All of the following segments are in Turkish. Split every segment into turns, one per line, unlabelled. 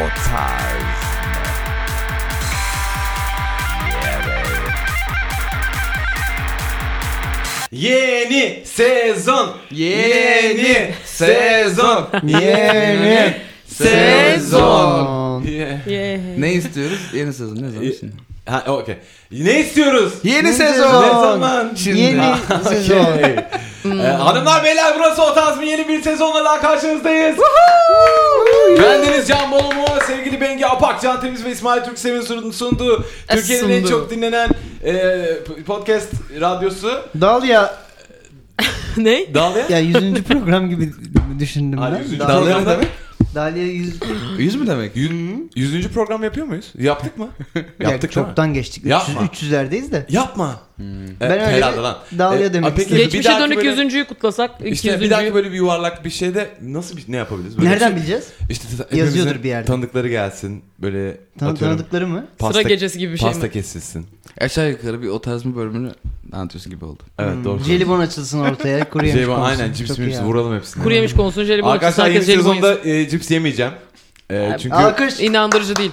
O tarz
Yeni sezon.
Yeni
sezon.
Yeni sezon.
Yeah.
Ne istiyoruz? Yeni sezon ne
E,
zaman şimdi?
Ha okey. Ne istiyoruz?
Yeni
Ne
sezon!
sezon?
Ne zaman?
Şimdi.
Yeni sezon.
Okey. Ee, hanımlar beyler burası Otaz mı? Yeni bir sezonla daha karşınızdayız. Bendeniz Can Bonomo, sevgili Bengi Apak, Can Temiz ve İsmail Türksever'in sun- sunduğu Türkiye'nin en
sunduğu.
çok dinlenen e, podcast radyosu.
Dalya
ne?
Dağlı.
ya 100. program gibi düşündüm
Ha,
ben.
100.
Dal-
Dalya
Dalya
mı demek?
Dalya 100.
Yüz mü demek?
Yüzüncü program yapıyor muyuz? Yaptık mı?
Ya,
Yaptık değil mi?
çoktan geçtik.
Yapma.
300 300'lerdeyiz de.
Yapma.
Ben
Evet,
öyle
herhalde
bir
lan.
dalya
Ee,
demek
peki,
istedim.
bir
Geçmişe
dahaki
dönük
böyle-
yüzüncüyü kutlasak,
İşte
200.
bir dahaki böyle bir yuvarlak bir şeyde nasıl bir ne yapabiliriz? Böyle
Nereden
bir şey-
bileceğiz?
İşte ta-
Yazıyordur
hepimizin
bir yerde.
Tanıdıkları gelsin böyle
Tan-
atıyorum,
tanıdıkları mı?
Sıra gecesi gibi bir şey
Pasta
mi?
kesilsin.
Aşağı yukarı bir o tarz mı bölümünü anlatıyorsun gibi oldu.
Evet
Hmm,
doğru.
Jelibon açılsın ortaya. Kuru yemiş
Jelibon
konsun.
aynen cips
Çok iyi
mips
abi.
vuralım hepsini.
Kuru yemiş konusunu jelibon açısı
Arkadaşlar yeni
herkes jelibon yesin.
sezonda e, cips yemeyeceğim. E, çünkü
Alkış.
İnandırıcı değil.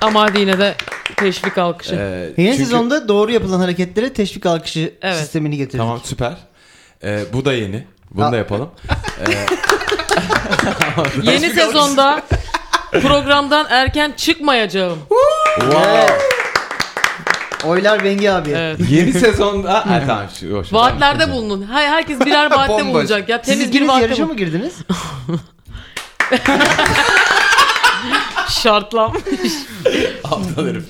Ama hadi yine de teşvik alkışı.
e,
Yeni
çünkü-
sezonda doğru yapılan hareketlere teşvik alkışı
Evet.
sistemini getirdik.
Tamam süper. E, bu da yeni. Bunu
Aa.
da yapalım.
Yeni sezonda programdan erken çıkmayacağım.
wow.
Oylar Bengi abi.
Evet.
yeni sezonda... Ha, tamam. Şu, yok, şu-
Vaatlerde bulunun. Hay herkes birer vaatte
Bomboş.
bulunacak. Ya
Siz
temiz bir
ikiniz
vaatte
yarışa
bulun.
mı girdiniz?
Şartlam.
Aptal herif.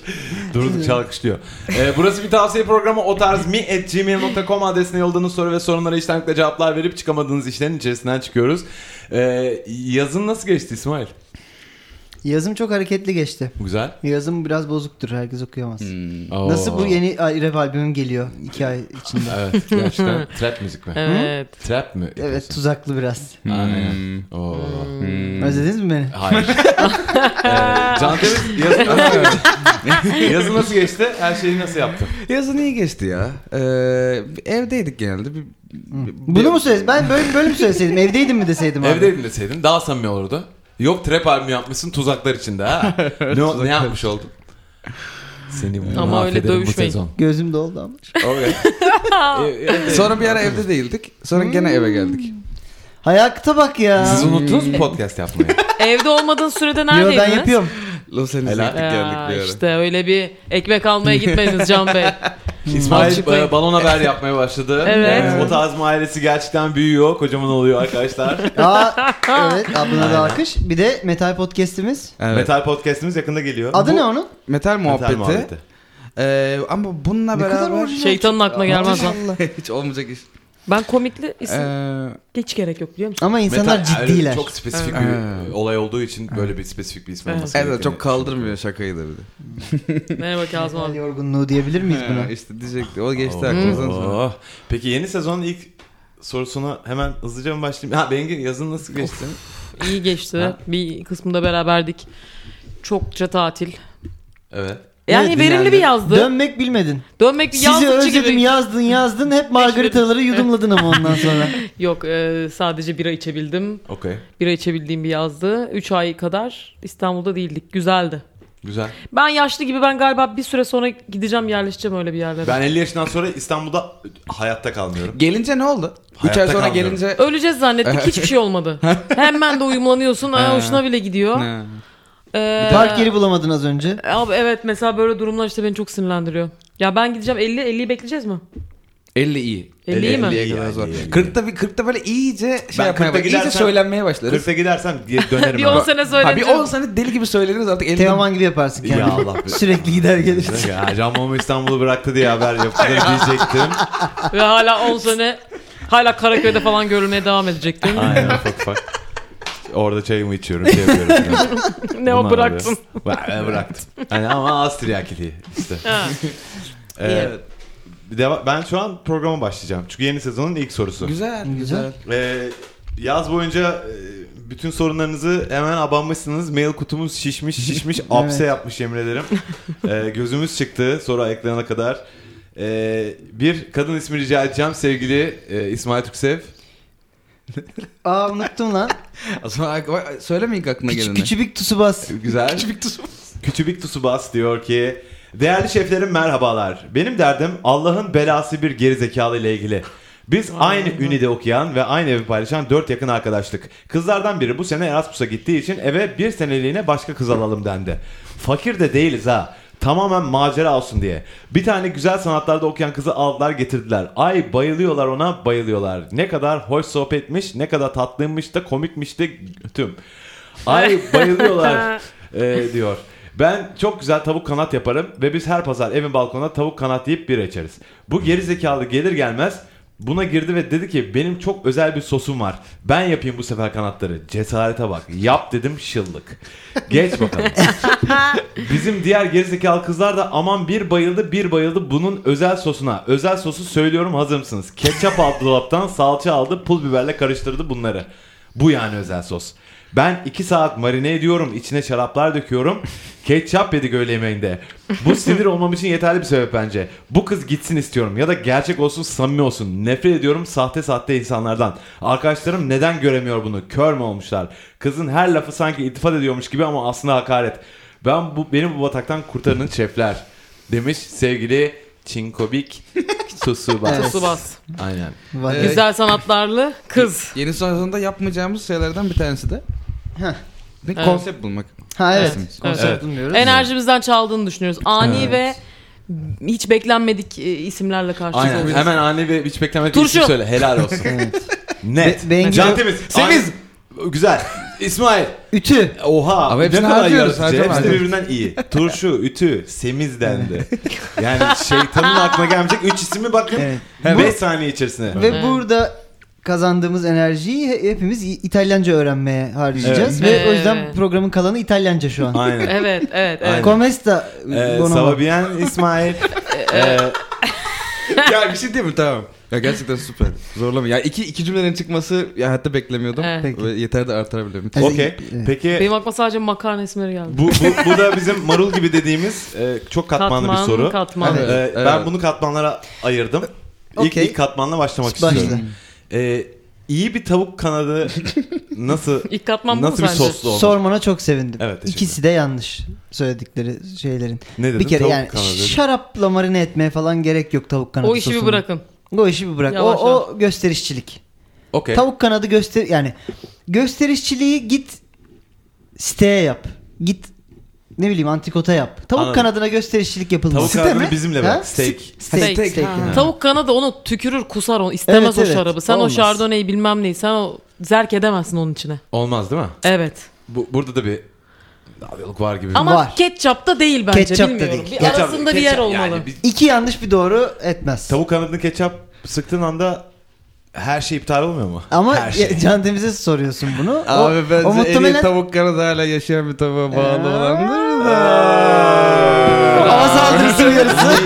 Durduk çalkışlıyor. Ee, burası bir tavsiye programı. O tarz mi at gmail.com adresine yolladığınız soru ve sorunlara iştenlikle cevaplar verip çıkamadığınız işlerin içerisinden çıkıyoruz. Ee, yazın nasıl geçti İsmail?
Yazım çok hareketli geçti.
Güzel.
Yazım biraz bozuktur. Herkes okuyamaz.
Hmm. Oo.
Hmm. Nasıl bu yeni ay- rap albümüm geliyor 2 ay içinde.
Evet gerçekten trap müzik mi?
Evet.
Trap mi?
Evet Hmm. tuzaklı biraz.
Aynen. Oo.
Özlediniz mi beni?
Hayır. ee, Can Temiz yazın nasıl geçti? yazın nasıl geçti? Her şeyi nasıl yaptın?
Yazın iyi geçti ya. Ee, evdeydik genelde. Bir, bir-
Bunu mu söylesin? Ben böyle, böyle mi söyleseydim? Evdeydim mi deseydim abi?
Evdeydin deseydin daha samimi olurdu. Yok trap albümü yapmışsın tuzaklar içinde ha. ne, ne yapmış oldun? Seni bu
Ama öyle
mahvederim bu
dövüşmeyin.
sezon.
Gözüm doldu ama.
Okey.
Sonra bir ara evde değildik. Sonra gene eve geldik.
Hayakta bak ya.
Siz unuttunuz mu podcast yapmayı?
Evde olmadığın sürede
Yo
neredeydiniz?
ben yapıyorum.
Los Angeles'a
Helal.
gittik geldik bir ara.
işte öyle bir ekmek almaya gitmediniz Can Bey.
İsmail
Açıklayın.
e, balon haber yapmaya başladı.
Evet.
O tarz ailesi gerçekten büyüyor. Kocaman oluyor arkadaşlar.
Aa, evet ablana da alkış. Bir de metal podcast'imiz.
Evet.
Metal podcast'imiz yakında geliyor.
Adı
Bu-
ne onun?
Metal muhabbeti.
Metal muhabbeti.
Ee, ama bununla
Ne kadar
beraber... şey-
orijinal.
Şeytanın aklına gelmez lan.
Hiç olmayacak iş.
Ben komikli isim
Ee,
hiç gerek yok biliyor musun?
Ama insanlar
Metal- yani
ciddiler.
Çok spesifik
Evet.
bir olay olduğu için böyle bir spesifik bir isim olması
evet
gerektiğini
çok kaldırmıyor şakayı da bir de.
Merhaba Kazım
Metal
abi.
yorgunluğu diyebilir miyiz buna?
Ee, işte diyecekti. O geçti
Oo.
aklımızdan sonra.
Oo. Oh, Peki yeni sezonun ilk sorusuna hemen hızlıca mı başlayayım? Ha Bengi yazın nasıl geçti?
İyi geçti.
Ha.
bir kısmında beraberdik. Çokça tatil.
Evet.
Yani
Evet,
verimli bir yazdı.
Dönmek bilmedin.
Dönmek bir
Sizi
yazlıkçı
özledim
gibi.
yazdın yazdın hep margaritaları yudumladın ama ondan sonra.
Yok e, sadece bira içebildim.
Okey.
Bira içebildiğim bir yazdı. 3 ay kadar İstanbul'da değildik. Güzeldi.
Güzel.
Ben yaşlı gibi ben galiba bir süre sonra gideceğim yerleşeceğim öyle bir yerlere.
Ben 50 yaşından sonra İstanbul'da hayatta kalmıyorum.
Gelince ne oldu? 3
Hayatta
ay sonra
kalmıyorum.
gelince...
Öleceğiz zannettik hiçbir şey olmadı. Hemen de uyumlanıyorsun. Aa, hoşuna bile gidiyor.
Ne?
Ee,
Park yeri bulamadın az önce.
E, Abi evet mesela böyle durumlar işte beni çok sinirlendiriyor. Ya ben gideceğim 50 50'yi bekleyeceğz mi?
50 iyi.
50 iyi mi?
50'ye kadar
Yani,
zor.
yani.
40'ta bir 40'ta böyle iyice şey
Ben
yapmaya
40'ta
başlar. İyice
gidersem-
söylenmeye başlarız.
40'a gidersem geri dönerim.
Bir
ben.
10 sene
Ha, bir
söyleneceğim.
10 sene deli gibi söyleniriz artık 50.
Teoman gibi yaparsın kendini.
Ee, Ya Allah.
Sürekli gider gelir.
Ya Can Momo İstanbul'u bıraktı diye haber yaptı diyecektim.
Ve hala 10 sene hala Karaköy'de falan görülmeye devam edecektin.
Aynen ufak ufak. Orada çayımı içiyorum, şey yapıyorum. yani.
ne
Bunu
o bıraktın.
arıyorum. Ben- ben bıraktım. Hani ama Astriakili işte.
Ha.
Ee, bir deva- ben şu an programa başlayacağım. Çünkü yeni sezonun ilk sorusu.
Güzel,
Güzel.
güzel.
Ee, yaz boyunca e, bütün sorunlarınızı hemen abanmışsınız. Mail kutumuz şişmiş şişmiş apse yapmış yemin ederim. Ee, gözümüz çıktı soru ayaklarına kadar. Ee, bir kadın ismi rica edeceğim sevgili e, İsmail Türksev.
Aa unuttum lan.
O zaman ak- bak, söylemeyin aklıma
Küç,
geleni.
küçübük Tsubasa.
Güzel.
Küçük tuzum.
Küçübik Tsubas diyor ki Değerli şeflerim merhabalar. Benim derdim Allah'ın belası bir gerizekalı ile ilgili. Biz aynı ünide okuyan ve aynı evi paylaşan dört yakın arkadaştık. Kızlardan biri bu sene Erasmus'a gittiği için eve bir seneliğine başka kız alalım dendi. Fakir de değiliz ha. Tamamen macera olsun diye. Bir tane güzel sanatlarda okuyan kızı aldılar getirdiler. Ay bayılıyorlar ona bayılıyorlar. Ne kadar hoş sohbetmiş, ne kadar tatlıymış da komikmiş de tüm. Ay bayılıyorlar e, diyor. Ben çok güzel tavuk kanat yaparım ve biz her pazar evin balkonuna tavuk kanat yiyip bir içeriz. Bu geri zekalı gelir gelmez buna girdi ve dedi ki benim çok özel bir sosum var. Ben yapayım bu sefer kanatları. Cesarete bak. Yap dedim şıllık. Geç bakalım. Bizim diğer gerizekalı kızlar da aman bir bayıldı bir bayıldı bunun özel sosuna. Özel sosu söylüyorum hazır mısınız? Ketçap aldı dolaptan salça aldı pul biberle karıştırdı bunları. Bu yani özel sos. Ben 2 saat marine ediyorum içine şaraplar döküyorum. Ketçap yedik öğle yemeğinde. Bu sinir olmam için yeterli bir sebep bence. Bu kız gitsin istiyorum ya da gerçek olsun samimi olsun. Nefret ediyorum sahte sahte insanlardan. Arkadaşlarım neden göremiyor bunu? Kör mü olmuşlar? Kızın her lafı sanki iltifat ediyormuş gibi ama aslında hakaret. Ben bu benim bu bataktan kurtarın şefler demiş sevgili Çinkobik Tsubas.
Evet.
Tsubas.
Aynen.
Vay.
Ee,
Evet.
Güzel sanatlarlı kız.
Yeni sezonda yapmayacağımız şeylerden bir tanesi de
Heh.
bir
Evet.
konsept bulmak.
Ha evet.
Evet.
Konsept
Evet.
bulmuyoruz.
Enerjimizden çaldığını düşünüyoruz. Ani
Evet.
ve hiç beklenmedik e, isimlerle karşımıza
Aynen.
oluyoruz.
Hemen ani ve hiç beklemedik
Turşu.
Turşu. söyle. Helal olsun. Net.
Be- beğen-
Can temiz.
Semiz.
Ani- Güzel. İsmail.
Ütü.
Oha.
Ama hepsini
ne kadar
harcıyoruz,
yaratıcı.
harcama,
Hepsi de
harcama.
birbirinden iyi. Turşu, ütü, semiz dendi. Yani şeytanın aklına gelmeyecek 3 ismi bakın.
Evet.
5 saniye içerisinde.
Ve
Evet.
burada kazandığımız enerjiyi he- hepimiz İ- İtalyanca öğrenmeye harcayacağız.
Evet.
Ve o
Evet.
yüzden programın kalanı İtalyanca şu an.
Aynen.
Evet, evet, evet.
Aynen.
Comesta
Ee,
bonomo.
Sababiyen İsmail. Ee,
ya bir şey diyeyim mi? Tamam. Ya gerçekten süper. Zorlama. Ya iki, iki cümlenin çıkması ya hatta beklemiyordum.
Evet.
Peki.
Ve yeter de artırabilirim.
Evet.
Okey. Peki.
Benim aklıma sadece makarna esmeri geldi.
Bu, bu, bu da bizim marul gibi dediğimiz e, çok katmanlı
katman,
bir soru.
Katman,
Evet.
E, Ben
Evet.
bunu katmanlara ayırdım. İlk,
Okey.
ilk katmanla başlamak
Başla.
istiyorum. E, iyi bir tavuk kanadı nasıl
İlk katman bu mu
nasıl bir
sence?
soslu olur?
Sormana çok sevindim.
Evet, teşekkür
İkisi de yanlış söyledikleri şeylerin.
Ne dedin?
bir kere
tavuk
yani
kanadı.
şarapla marine etmeye falan gerek yok tavuk kanadı
O işi bir
sosunu.
bırakın.
O işi bir bırak.
Yavaş
o, o gösterişçilik.
Okey.
Tavuk kanadı göster yani gösterişçiliği git siteye yap. Git ne bileyim antikota yap. Tavuk
Anladım.
kanadına gösterişçilik yapılmaz.
Tavuk kanadını bizimle
Ha?
bırak. Steak.
Steak.
Ha,
Steak.
steak.
steak.
Ha.
Tavuk kanadı onu tükürür kusar onu. İstemez
Evet,
o
evet.
şarabı. Sen
Olmaz.
o şardoneyi bilmem neyi. Sen o zerk edemezsin onun içine.
Olmaz değil mi?
Evet.
Bu, burada da bir avyoluk var gibi.
Ama
Var.
ketçap da değil bence.
Ketçap da
Bilmiyorum.
değil.
Bir
Ketçap-
arasında bir
ketçap
yer olmalı.
Yani bir-
İki yanlış bir doğru etmez.
tavuk kanadını ketçap sıktığın anda her şey iptal olmuyor mu?
Ama
her şey.
ya- Can Temiz'e soruyorsun bunu. O-
Abi
o,
bence en iyi
muhtemelen-
tavuk kanadı hala yaşayan bir tavuğa bağlı
Aa.
olandır da.
Hava saldırısı uyarısı.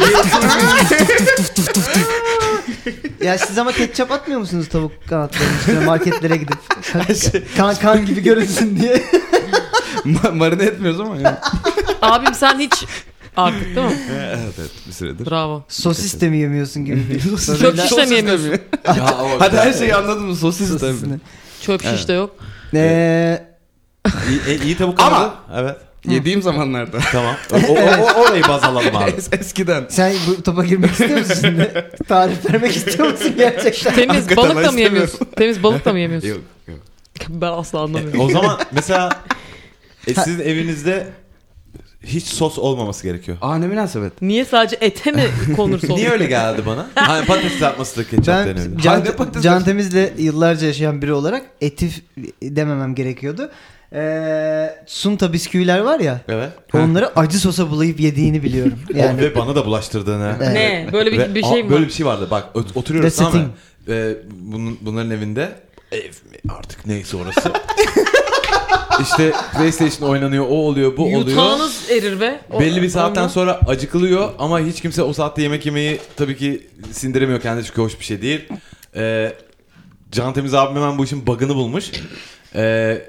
ya siz ama ketçap atmıyor musunuz tavuk kanatlarının üstüne marketlere gidip?
şey.
kan, kan gibi görünsün diye.
Ma- Marine etmiyoruz ama yani.
Abim sen hiç artık değil mi?
evet evet bir süredir.
Bravo.
Sosis de mi yemiyorsun gibi bir
Çok
soruyla.
şiş de mi yemiyorsun?
Ya, o-
Hadi her şeyi anladın mı? Sosis
Sosis
tabii.
ne?
Çöp şiş de yok.
Ee,
İyi, e, iyi tavuk
Ama-
kanadı. Evet.
Yediğim zamanlarda.
Tamam. O, o, o- orayı baz alalım abi.
Es- Eskiden.
sen bu topa girmek istiyor musun şimdi? Tarif vermek istiyor musun gerçekten?
Temiz
Hakikaten
balık da
ben
mı yemiyorsun? Temiz balık da mı
Yok
yemiyorsun?
yok.
ben asla anlamıyorum.
O zaman mesela e, sizin evinizde hiç sos olmaması gerekiyor.
Aa ne münasebet.
Niye sadece ete mi konur sonuç?
Niye öyle geldi bana? Hani patates atması da ketçap
Ben
denildi.
Can,
Halde patates-
Can Temiz'le yıllarca yaşayan biri olarak etif dememem gerekiyordu. Ee, sunta bisküviler var ya.
Evet.
Onları acı sosa bulayıp yediğini biliyorum.
Yani.
Yani
Ve bana da bulaştırdığını.
Evet.
Ne? Böyle
Ve-
bir, bir
Aa,
şey mi
Böyle
var?
bir şey vardı. Bak ot- oturuyoruz
The
tamam mı?
sitting.
Ee, bunun, bunların evinde ev mi? artık neyse orası. işte PlayStation oynanıyor, o oluyor, bu şey oluyor.
Yutağınız erir be. O-
Belli bir saatten
ondan-
sonra acıkılıyor ama hiç kimse o saatte yemek yemeyi tabii ki sindiremiyor kendisi çünkü hoş bir şey değil. Ee, Can Temiz abim hemen bu işin bug'ını bulmuş. Ee,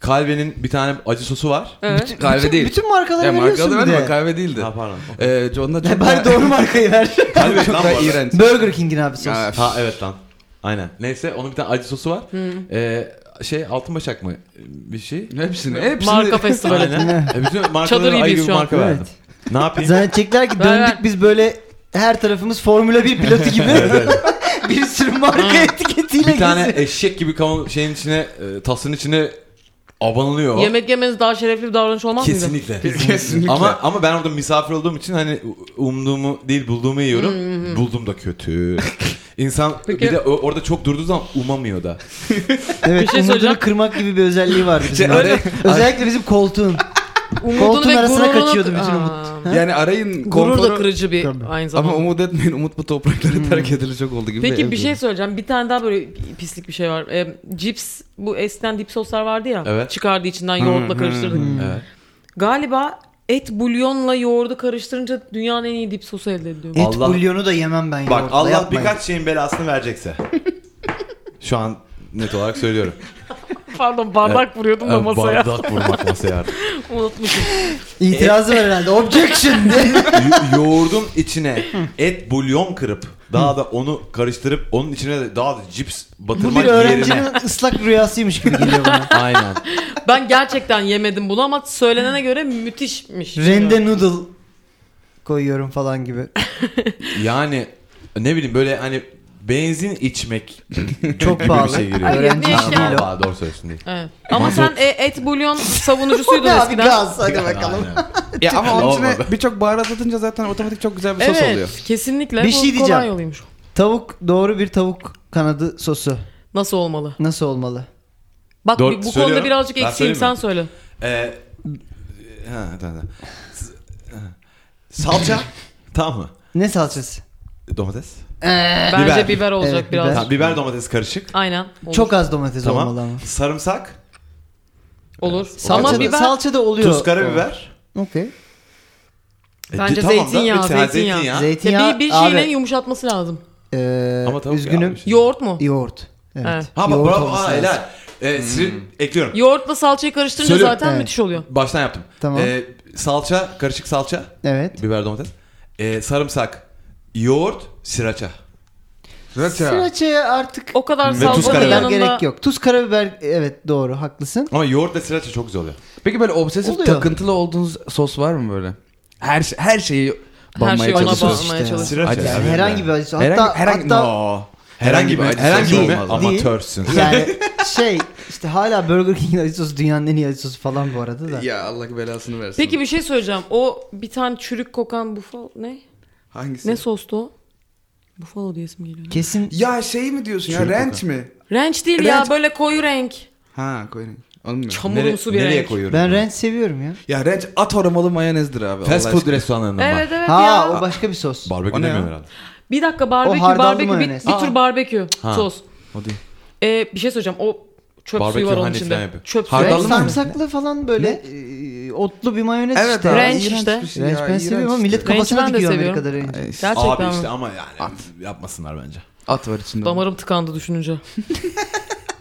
Kalbe'nin bir tane acı sosu var.
Evet.
Kahve değil.
bütün markaları
Ya
veriyorsun
markalı
bir
verme
de.
kahve değildi.
Ha pardon.
Ee, onda
Bari
çok daha,
doğru markayı ver.
Ee, Kalbe
çok
lan
daha
bu arada.
iğrenç.
Burger King'in abi sos.
Ya,
Ha evet lan. Aynen. Neyse onun bir tane acı sosu var. Ee, şey Altınbaşak mı bir şey?
Hepsini, hepsini.
Marka festivali.
Aynen. E, bütün
Çadır
markalara
gibiyiz
ay gibi
şu an.
marka verdim. Ne yapayım?
Zannedecekler ki
Ver, ver.
döndük biz böyle her tarafımız Formula 1 pilotu gibi bir sürü marka etiketiyle
bir tane
geziyor.
eşek gibi kavun şeyin içine, e, tasın içine abanılıyor.
Yemek yemeniz daha şerefli bir davranış olmaz mıydı?
Kesinlikle.
Kesinlikle.
Ama ama ben orada misafir olduğum için hani umduğumu değil bulduğumu yiyorum. Buldum da kötü. İnsan
Hmm, Peki.
bir de o- orada çok durduğu zaman umamıyor da.
Evet,
şey
umudunu
söyleyeceğim.
kırmak gibi bir özelliği var bizim.
Öyle-
orada. Özellikle bizim koltuğun. Koltuğun arasına kaçıyordu bütün umut.
Aa,
yani arayın
Gurur da
konforu-
kırıcı bir
Tabii.
aynı zamanda.
Ama umut etmeyin. Umut bu toprakları terk edili çok oldu gibi.
Peki bir
Evet.
şey söyleyeceğim. Bir tane daha böyle pislik bir şey var. Ee, cips, bu eskiden dip soslar vardı ya.
Evet.
Çıkardı içinden yoğurtla
hı,
karıştırdık.
Evet.
Galiba et bulyonla yoğurdu karıştırınca dünyanın en iyi dip sosu elde ediliyor.
E-
Et
Allah-
bulyonu da yemem ben.
Bak
yoğurtla,
Allah
yapmayın.
birkaç şeyin belasını verecekse. Şu an net olarak söylüyorum.
Pardon bardak
e-
vuruyordum da
Yani
masaya.
Bardak vurmak masaya. artık.
Unutmuşum.
İtirazı var herhalde. Objection diye.
Yo- Yoğurdun içine et bulyon kırıp daha da onu karıştırıp onun içine de daha da cips
Bu
batırmak
bir
yerine.
öğrencinin ıslak rüyasıymış gibi geliyor bana.
Aynen.
Ben gerçekten yemedim bunu ama söylenene göre müthişmiş.
Rende noodle koyuyorum falan gibi.
Yani ne bileyim böyle hani benzin içmek
Çok
gibi
pahalı.
bir şey giriyor.
Hayır,
Öğrenci
ne
Ha,
işi değil
ya?
o.
vallahi doğru söylüyorsun değil.
Evet. Ama sen e, et bulyon savunucusuydun
Abi
eskiden.
gaz hadi bakalım.
Aynen.
Ya ama onun içine
Olmadı.
birçok baharat atınca zaten otomatik çok güzel bir sos oluyor.
Evet kesinlikle.
Bir
Bu
şey
Kolay
diyeceğim.
yoluymuş.
Tavuk doğru bir tavuk kanadı sosu.
Nasıl olmalı?
Nasıl olmalı?
Bak
Doğru,
bir- bu konuda
söylüyorum.
birazcık
Ben
eksiğim sen
söyleyeyim mi?
söyle.
Ee, ha, tamam, tamam. S- ha. Salça. tamam mı?
Ne salçası?
Domates.
Bence biber,
Biber.
olacak
Evet,
biraz.
Ee, biber.
Tamam, biber domates karışık.
Aynen. Olur.
Çok az domates olmalı ama.
Tamam. Sarımsak.
olur.
Salça,
Ama
da,
biber
salça da oluyor.
Tuz, karabiber.
Okey.
E,
Bence
tamam da
zeytinyağı,
bir tane
zeytinyağı.
Zeytinyağı.
ya bir, bir
abi,
şeylerin yumuşatması lazım.
eee,
Ama tavuk ya
Ee, üzgünüm.
abi işte.
Yoğurt mu?
Yoğurt. Evet.
Evet.
Ha bak
Yoğurt
bravo.
olması
Aa,
lazım.
helal. Ee,
Hmm.
sirip ekliyorum.
Yoğurtla salçayı karıştırınca
Söylüyorum.
zaten
Evet.
müthiş oluyor.
Baştan yaptım.
Tamam.
Ee, salça, karışık salça.
Evet.
Biber, domates. Ee, sarımsak, yoğurt, siracha.
Zaten.
Sıraçaya artık
O kadar
Ve tuz,
salçanın
karabiber.
yanında
gerek yok. Tuz karabiber evet doğru haklısın.
Ama yoğurt ve siracha çok güzel oluyor.
Peki böyle obsesif
Oluyor.
takıntılı olduğunuz sos var mı böyle? Her şey- her şeyi
her
banmaya
şeyi ona
çalışıyorsunuz.
işte
bağlamaya
ya.
çalışıyorsun.
Sriracha.
Hadi.
Yani
abi,
herhangi
yani.
bir acısı. Hatta,
Herhangi, herhangi,
hatta
No.
Herhangi bir acı
herhangi
sosu
bir-
olmaz. Amatörsün.
yani şey işte hala Burger King'in acı sosu dünyanın en iyi acı sosu falan bu arada da.
Ya Allah belasını versin.
Peki bir şey söyleyeceğim. O bir tane çürük kokan bufalo ne?
hangisi?
Ne sostu o? Bufalo diye ismi geliyor.
Kesin
Ya şey mi diyorsun ya?
Çürük
Ranch mi?
Ranch değil ya
Ranch-
böyle koyu renk.
Ha koyun. Onu mu?
Çamurumsu bir
nereye
renk.
koyuyorum?
ben ranch seviyorum ya.
Ya ranch at aromalı mayonezdir abi.
Fast
Allah
food
aşkına.
restoranlarından
Evet evet
Ha
ya.
o başka bir sos.
Barbekü
O ne
demiyor
ya?
herhalde.
Bir dakika barbekü
hardallı
barbekü bir,
mayonez.
bir
Aa.
tür barbekü
Ha.
sos.
O değil.
Ee, bir şey söyleyeceğim. O çöp
Barbekü
suyu var onun
hani falan
içinde.
yapıyor.
Çöp suyu.
Ranch
Hardallı mı?
sarımsaklı falan böyle eee, otlu bir mayonez
Evet
işte.
abi.
Ranch
iğrenç
işte.
bir şey ya,
Ranch ben
iğrenç
seviyorum ama
işte.
millet
Ranch
kafasına
ben de
dikiyor
seviyorum.
Amerika'da ranch.
Ay, işte.
Gerçekten
Abi
mi?
işte ama yani yapmasınlar bence.
At var içinde.
Damarım tıkandı düşününce.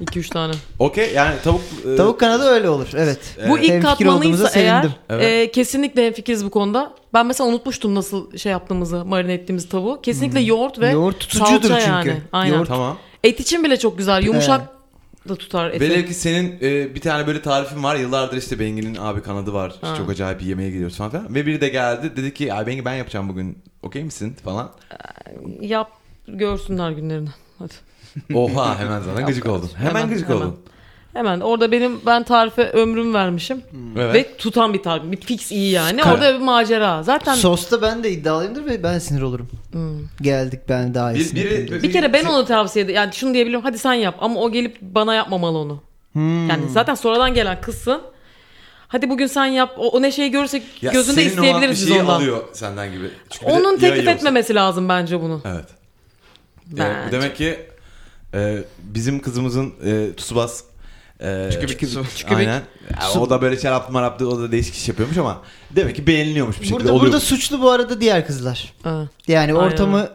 2-3 tane.
Okey yani tavuk... e,
Tavuk kanadı öyle olur evet.
Bu ilk
Hemfikir
katmanıysa
olduğumuza
eğer
sevindim.
Evet.
e, kesinlikle hemfikiriz bu konuda. Ben mesela unutmuştum nasıl şey yaptığımızı, marine ettiğimiz tavuğu. Kesinlikle yoğurt ve
Hmm. Yoğurt tutucudur
salça
çünkü.
yani. Aynen.
Yoğurt-
Tamam.
Et için bile çok güzel. Yumuşak da tutar eti.
Velev ki senin e, bir tane böyle tarifin var. Yıllardır işte Bengi'nin abi kanadı var. İşte
Ha.
çok acayip bir yemeğe gidiyoruz falan filan. Ve biri de geldi dedi ki ay Bengi ben yapacağım bugün. Okey misin falan.
Yap görsünler günlerini. Hadi.
Oha hemen zaten gıcık oldun. Hemen,
Hemen,
gıcık
hemen.
oldun.
Hemen orada benim ben tarife ömrüm vermişim.
Evet.
Ve tutan bir tarif. Bir fix iyi yani. Orada bir macera. Zaten
Sosta ben de iddialıyımdır ve ben sinir olurum.
Hmm.
Geldik ben daha
Bir,
iyisini.
biri,
yapayım.
bir kere ben onu tavsiye ederim. Yani şunu diyebilirim. Hadi sen yap. Ama o gelip bana yapmamalı onu.
Hmm.
Yani zaten sonradan gelen kızsın. Hadi bugün sen yap. O, o neşeyi görürsek
Ya
gözünde
senin o an
isteyebiliriz
bir
biz
şeyi
ondan.
alıyor senden gibi. Çünkü bir de
Onun teklif
yayıyorsun.
etmemesi lazım bence bunu.
Evet. Yani
Bence.
bu demek ki e, bizim kızımızın e, Tsubas e,
Çünkü bir kız
Aynen. Ya, o da böyle şaraplı maraplı o da değişik iş yapıyormuş ama demek ki beğeniliyormuş bir şekilde
Burada,
oluyor.
burada suçlu bu arada diğer kızlar.
Ha.
Yani
Aynen.
ortamı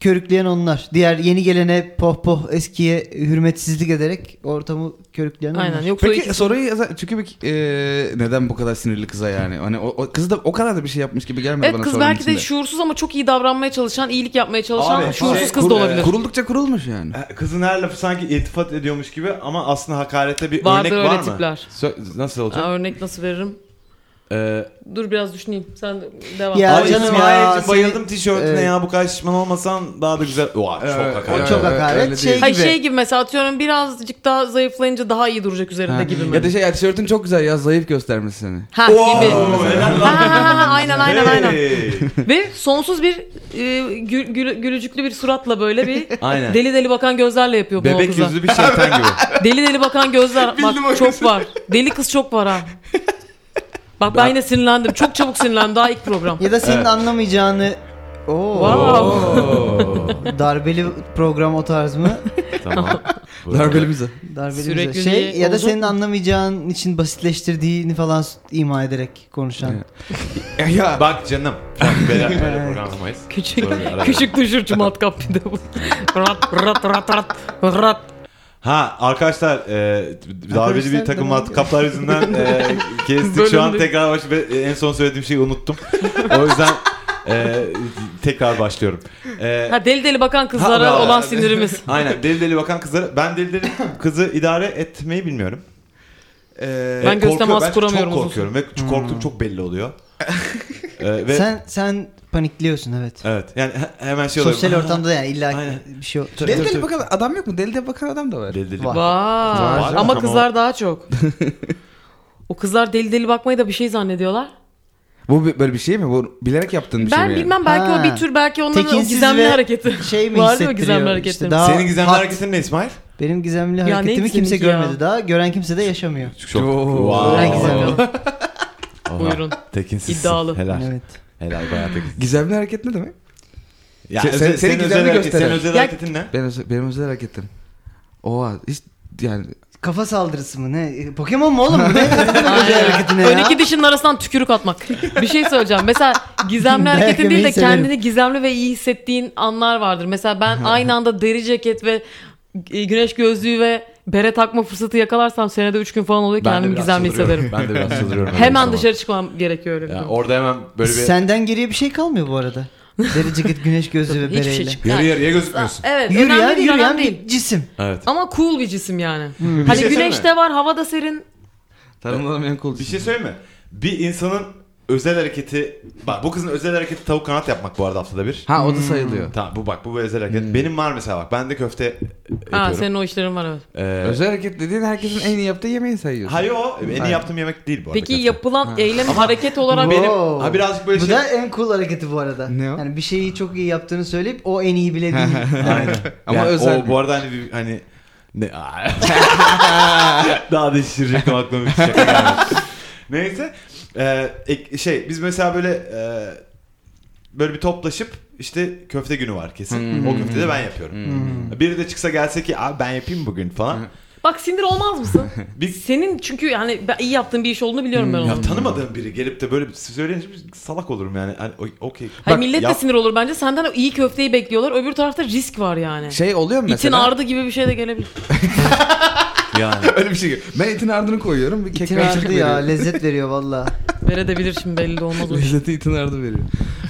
körükleyen onlar. Diğer yeni gelene poh poh eskiye hürmetsizlik ederek ortamı körükleyen onlar.
Aynen. Yoksa o
Peki
ikisi-
soruyu yazar. Çünkü bir, e, neden bu kadar sinirli kıza yani? Hani o, o kız da o kadar da bir şey yapmış gibi gelmedi
Evet
bana
kız
sorunun
belki de
içinde.
şuursuz ama çok iyi davranmaya çalışan, iyilik yapmaya çalışan
Abi,
şuursuz
şey,
kız
kur-
da olabilir.
Kuruldukça kurulmuş yani.
Kızın her lafı sanki iltifat ediyormuş gibi ama aslında hakarete bir
Vardır
örnek
öyle
var mı?
tipler.
Sö- nasıl olacak?
Aa, örnek nasıl veririm?
Ee,
Dur biraz düşüneyim. Sen de- devam.
Ya
abi
canım
İsmail'cim
ya,
bayıldım
seni-
tişörtüne
Evet.
ya bu kadar şişman olmasan daha da güzel. Oha çok
Evet,
hakaret.
evet,
O çok
öyle-
hakaret.
öyle
Şey-
değil.
Hayır
gibi.
şey gibi mesela atıyorum birazcık daha zayıflayınca daha iyi duracak üzerinde
Ha.
gibi mi?
Ya da şey ya tişörtün çok güzel ya zayıf göstermesi seni.
Ha
Oo,
gibi.
helal
Ha,
lan.
ha, ha, ha, aynen aynen aynen.
Hey.
Ve sonsuz bir e, gül, gül- gülücüklü bir suratla böyle bir
Aynen.
deli deli bakan gözlerle yapıyor bunu o
Bebek
kıza.
yüzlü bir şeytan gibi.
Deli deli bakan gözler
Bildim
bak
o
çok
yüzden.
var. Deli kız çok var ha. Bak ben, yine sinirlendim. Çok çabuk sinirlendim. Daha ilk program.
Ya da senin anlamayacağını Oo.
Wow.
Oo,
Darbeli program o tarz mı?
tamam.
Darbelimize.
Darbeli
Sürekli
güzel. şey
diye
ya da
olacak
senin
mı?
anlamayacağın için basitleştirdiğini falan ima ederek konuşan.
Evet. Ya, ya.
Bak canım. Bak, Böyle böyle programlamayız.
Küçük,
Böyle arada.
küçük düşürcü matkap bir de bu. Rat rat rat rat rat.
Ha arkadaşlar e, darbeci bir takım
devam
kaplar yüzünden e, kestik. Şu an
Bölündük.
tekrar baş ve e, en son söylediğim şeyi unuttum. o yüzden e, tekrar başlıyorum. E,
Ha deli deli bakan
Ha,
kızlara
bravo.
olan sinirimiz.
aynen deli deli bakan kızlara. Ben deli deli kızı idare etmeyi bilmiyorum. E,
Ben göz
korkuyorum.
teması kuramıyorum
çok
uzun
korkuyorum ve korktuğum çok belli oluyor. E, ve
Hmm. Sen sen panikliyorsun evet.
Evet yani he- hemen şey oluyor.
Sosyal ortamda da yani illa
Aynen.
bir şey
Tabii,
Deli
tabii,
deli
tabii.
bakan adam yok mu? Deli deli bakan adam da var.
Deli deli
Var.
Vay.
Var.
Ama
Ama-
kızlar daha çok. O kızlar deli deli bakmayı da bir şey zannediyorlar.
Bu bir- böyle bir şey mi? Bu bilerek yaptığın bir şey
ben
mi? yani?
bilmem belki
Ha.
o bir tür belki onların
Tekinsiz
o gizemli
ve
hareketi.
Şey mi
Var değil
hissettiriyor?
mi gizemli
İşte
hareketler?
daha
Senin gizemli
hat-
hareketin ne İsmail?
Benim gizemli
neydi
hareketimi kimse
seninki ya?
görmedi daha. Gören kimse de yaşamıyor.
Çok.
Oo.
Wow.
Herkes yapıyor.
Aha,
Buyurun.
Tekinsizsin.
İddialı.
Helal.
Evet.
Helal bayağı tekinsiz.
Gizemli hareket ne demek?
Ya,
Sen-
özel-
sen- senin
özel
gizemini
hareket-
gösteren.
Senin özel
Ya-
hareketin ne?
Benim, özel- benim özel hareketim. Oha hiç yani
Kafa saldırısı mı ne? E, Pokemon mu oğlum bu ne?
Aynen.
Özel hareketine ya.
Öndeki dişinin arasından tükürük atmak. Bir şey söyleyeceğim. Mesela gizemli hareketin değil de
yemeyi severim.
kendini gizemli ve iyi hissettiğin anlar vardır. Mesela ben aynı anda deri ceket ve e, güneş gözlüğü ve bere takma fırsatı yakalarsam senede 3 gün falan oluyor
Ben de
kendimi
biraz
gizemli
çıldırıyorum.
hissederim.
Ben de biraz çıldırıyorum. öyle bir
Hemen
zaman.
dışarı çıkmam gerekiyor öyle bir
Ya
durum.
orada hemen böyle bir...
Senden geriye bir şey kalmıyor bu arada. Deri ceket, güneş gözlüğü ve
Hiçbir şey
bereyle.
çıkmıyor.
Yarı yarıya gözükmüyorsun.
Evet, önemli
Yürüyen,
değil,
yürüyen
önemli değil.
bir cisim.
Evet.
Ama cool bir cisim yani.
Bir
Hani
şey söyleyeyim mi?
güneş de var, hava da serin.
tanımlanamayan kol.
Bir şey söyleyeyim mi? Bir insanın özel hareketi... Bak bu kızın özel hareketi tavuk kanat yapmak bu arada haftada bir.
Ha o da sayılıyor.
Tamam bu bak bu bir özel hareket. Benim var mesela bak ben de köfte yapıyorum.
Ha, senin o işlerin var evet.
Ee,
Özel hareket dediğin herkesin en iyi yaptığı yemeği sayıyorsun.
Hayır o en iyi
Hayır.
yaptığım yemek değil bu arada.
Peki
köfte.
yapılan eylem hareket olarak
Wow.
benim
Ha, birazcık böyle
Bu
şey-
da en cool hareketi bu arada.
Ne o?
Yani bir şeyi çok iyi yaptığını söyleyip o en iyi bile değil.
Aynen.
Ama
Yani
özel-
O, bu arada hani bir- hani ne? Daha da şişirecektim aklıma bir şaka gelmedi. Neyse. Ee, ek- şey biz mesela böyle e, böyle bir toplaşıp işte köfte günü var kesin. O köfte de ben yapıyorum. Biri de çıksa gelse ki abi ben yapayım bugün falan.
Bak sindir olmaz mısın?
Bir-
Senin çünkü yani ben iyi yaptığın bir iş olduğunu biliyorum ben
Ya
onun.
tanımadığım biri gelip de böyle bir söyleyince bir salak olurum yani. Hani, o- okey.
Hayır,
Bak,
millet de
yap-
sinir olur bence. Senden o iyi köfteyi bekliyorlar. Öbür tarafta risk var yani.
Şey oluyor mu
İtin
mesela?
ardı gibi bir şey de gelebilir.
Yani.
Öyle bir şey gibi. Ben itin ardını koyuyorum. Bir kek
İtin
kaşık
ardı ya
veriyorum.
lezzet veriyor valla.
Verebilir şimdi belli de olmaz o iş.
Lezzeti itin ardı veriyor.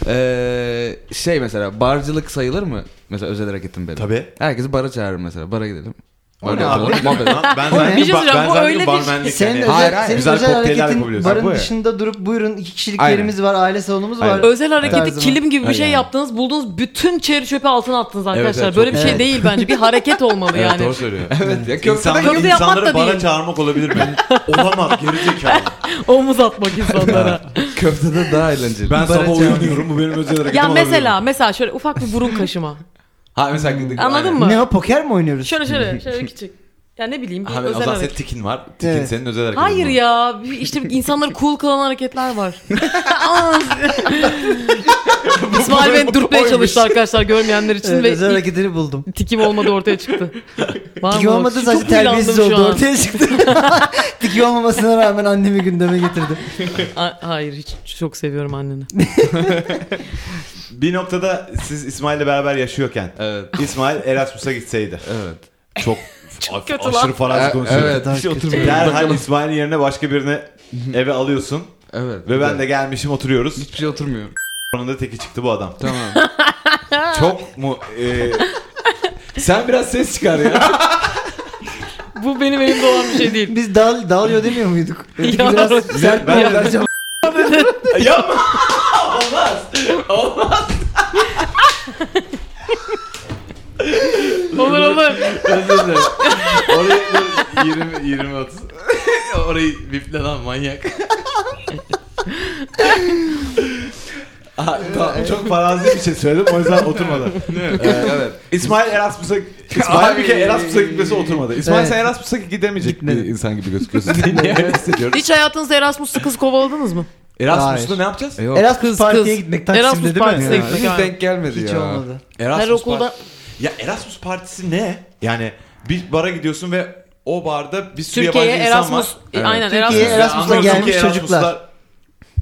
Ee, şey mesela barcılık sayılır mı? Mesela özel hareketim benim.
Tabii.
Herkesi bara çağırır mesela. Bara gidelim.
O
Öyle
ne abi?
yapalım. Muhabbet.
ben
Bir şey söyleyeceğim,
ben
bu
zannediyorum
öyle bir-
barmenlik
Senin
yani.
özel,
Hayır, hayır.
senin
Güzel
özel
kokteyller
hareketin
yapabiliyorsun.
barın
Bu ya.
dışında durup buyurun iki kişilik
Aynen.
yerimiz var, aile salonumuz var.
Aynen.
Özel hareketi
Tarzıma.
kilim gibi bir şey
Aynen.
yaptınız. Buldunuz bütün çeri çöpe altına attınız arkadaşlar.
evet,
Böyle
çok
bir şey
doğru.
değil bence. Bir hareket olmalı
Evet
yani.
doğru söylüyor.
evet ya köfte
İnsanları,
de
E, Köfte yapmak
insanları
da
bara
değil.
çağırmak olabilir mi? Olamaz gerizekalı.
Omuz atmak insanlara.
köfte de daha eğlenceli.
Ben sabah
çağırmak.
uyanıyorum bu benim özel hareketim
ya
olabilir.
mesela mesela şöyle ufak bir burun kaşıma.
Ha mesela.
Anladın mı?
Ne o poker mi oynuyoruz?
Şöyle şöyle şöyle küçük. Ya ne bileyim bir
Ha, o
özel
zaman
hareket.
senin tikin var. Tikin
Evet.
senin özel hareketin.
Hayır
bu.
ya bir- işte insanları cool kılan hareketler var. İsmail beni dürtmeye
Oymuş.
çalıştı arkadaşlar görmeyenler için
Evet, özel
ve
hareketini buldum.
ilk tikim olmadı ortaya çıktı. Var
Tiki
mı?
olmadı
Çok
sadece
huylandım
terbiyesiz
şu
oldu
an.
ortaya çıktı. Tiki olmamasına rağmen annemi gündeme getirdi.
A- hayır hiç çok seviyorum anneni.
Bir noktada siz İsmail'le beraber yaşıyorken
Evet.
İsmail Erasmus'a gitseydi.
Evet.
Çok,
Çok
a-
kötü
aşırı
lan.
farazi
E-
konuşuyor.
evet.
Daha
Hiç
kötü.
oturmuyor.
Derhal
Bakalım.
İsmail'in yerine başka birini eve alıyorsun.
Evet.
Ve ben de gelmişim oturuyoruz.
hiçbir şey oturmuyor.
Sonunda teki çıktı bu adam.
Tamam.
Çok mu... e, sen biraz ses çıkar ya.
Bu benim elimde olan bir şey değil.
Biz dağıl, dağılıyor demiyor muyduk? Öteki
Ya.
biraz sert
Ben-
bir yaklaşım.
Yapma. Olmaz. Olmaz.
olur olur.
Özür dilerim. Orayı 20 20 30. Orayı biple lan manyak. Aa, tamam, çok farazi bir şey söyledim o yüzden oturmadı.
evet. evet.
İsmail Erasmus'a İsmail bir kere Erasmus'a gitmesi oturmadı. İsmail
Evet.
sen Erasmus'a gidemeyecek
Gitmedi.
bir insan gibi gözüküyorsun. Dinleyen hissediyorum.
Hiç hayatınızda Erasmus'lu kız kovaladınız mı?
Erasmus'ta
Hayır.
ne yapacağız?
E, yok.
Erasmus
Kız,
partiye
kız.
gitmek Taksim'de
Erasmus
değil mi?
partisine
Ya.
gitmek.
Hiç denk gelmedi
Hiç
ya.
olmadı.
Erasmus
Her okulda
Parti- Ya Erasmus partisi ne? Yani bir bara gidiyorsun ve o barda bir sürü
Türkiye'ye
yabancı insan
Erasmus.
var.
Evet.
Aynen
Türkiye'ye
Erasmus.
Erasmus'la
Anlıyorsun ki
gelmiş
Erasmus'lar
çocuklar.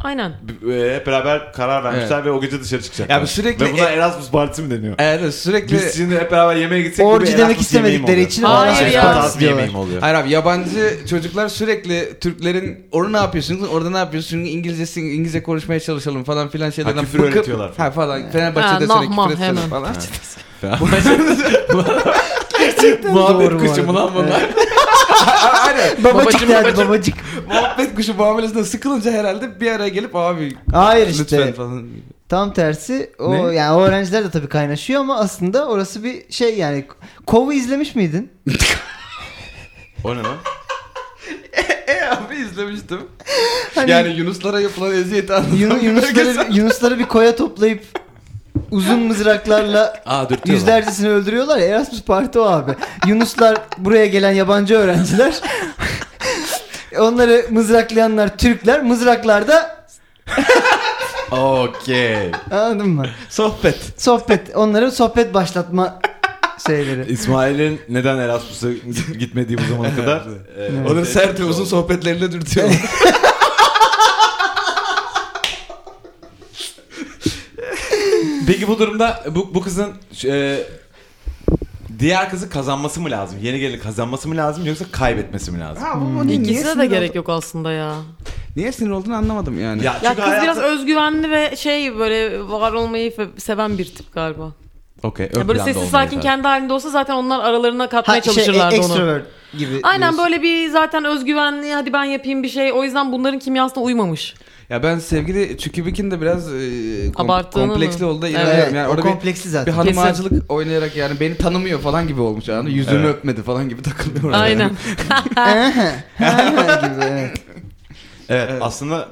Aynen.
e, hep beraber karar vermişler ve o gece dışarı çıkacaklar.
Ya bu sürekli-
Ve buna Erasmus partisi mi deniyor?
Evet sürekli...
Biz şimdi hep beraber yemeğe gitsek
Orji
bir
demek
Erasmus yemeği mi
istemedikleri
oluyor?
için
Hayır
Erasmus
ya.
partisi
Erasmus
yemeği mi oluyor?
Hayır abi yabancı çocuklar sürekli Türklerin orada ne yapıyorsunuz orada ne yapıyorsunuz İngilizcesi İngilizce konuşmaya çalışalım falan filan şeylerden
küfür
bıkıp-
öğretiyorlar.
Ha falan Fenerbahçe'de
Ha,
seni
nah,
küfür
hemen.
etsene falan.
Doğru
Muhabbet
bu
kuşu mu
arada.
lan bunlar?
Aynen.
Babacık derdi babacık.
Muhabbet kuşu muamelesinden sıkılınca herhalde bir araya gelip abi
Hayır
lütfen
işte.
falan.
Tam tersi o
Ne?
yani o öğrenciler de tabii kaynaşıyor ama aslında orası bir şey yani Kov'u izlemiş miydin?
O ne lan?
E abi izlemiştim.
Hani
Yani Yunuslara yapılan eziyeti anlatan
Yun-
bir belgesel.
Yunusları, Yunusları bir koya toplayıp uzun mızraklarla
Aa dürtüyorlar.
yüzlercesini öldürüyorlar ya Erasmus Parti o abi. Yunuslar buraya gelen yabancı öğrenciler. Onları mızraklayanlar Türkler. Mızraklar da
Okey.
anladın mı?
Sohbet.
Sohbet. Onları sohbet başlatma şeyleri.
İsmail'in neden Erasmus'a gitmediği bu zamana kadar. e,
Onun sert ve uzun sohbetlerine dürtüyorlar.
Peki bu durumda bu, bu kızın e, diğer kızı kazanması mı lazım? Yeni gelin kazanması mı lazım yoksa kaybetmesi mi lazım?
İkisine de gerek yok aslında ya.
Niye sinir olduğunu anlamadım yani.
Ya,
Ya
çünkü
kız
hayatı-
biraz özgüvenli ve şey böyle var olmayı fe- seven bir tip galiba.
Okey, ön
Ya böyle
planda
sessiz
olmayı
sakin
zaten.
kendi halinde olsa zaten onlar aralarına katmaya
Ha, şey,
çalışırlardı onu.
extrovert gibi.
Aynen
diyorsun.
böyle bir zaten özgüvenli hadi ben yapayım bir şey. O yüzden bunların kimyasına uymamış.
Ya ben sevgili Çükübik'in de biraz e, kom-
Abarttığını
kompleksli
mı?
olduğuna
Evet.
inanıyorum.
Evet,
yani
o
orada bir,
kompleksi
bir
zaten.
hanım
Kesin.
ağacılık oynayarak yani beni tanımıyor falan gibi olmuş yani. Yüzümü
Evet.
öpmedi falan gibi takılıyor.
Aynen.
gibi, evet.
Evet, aslında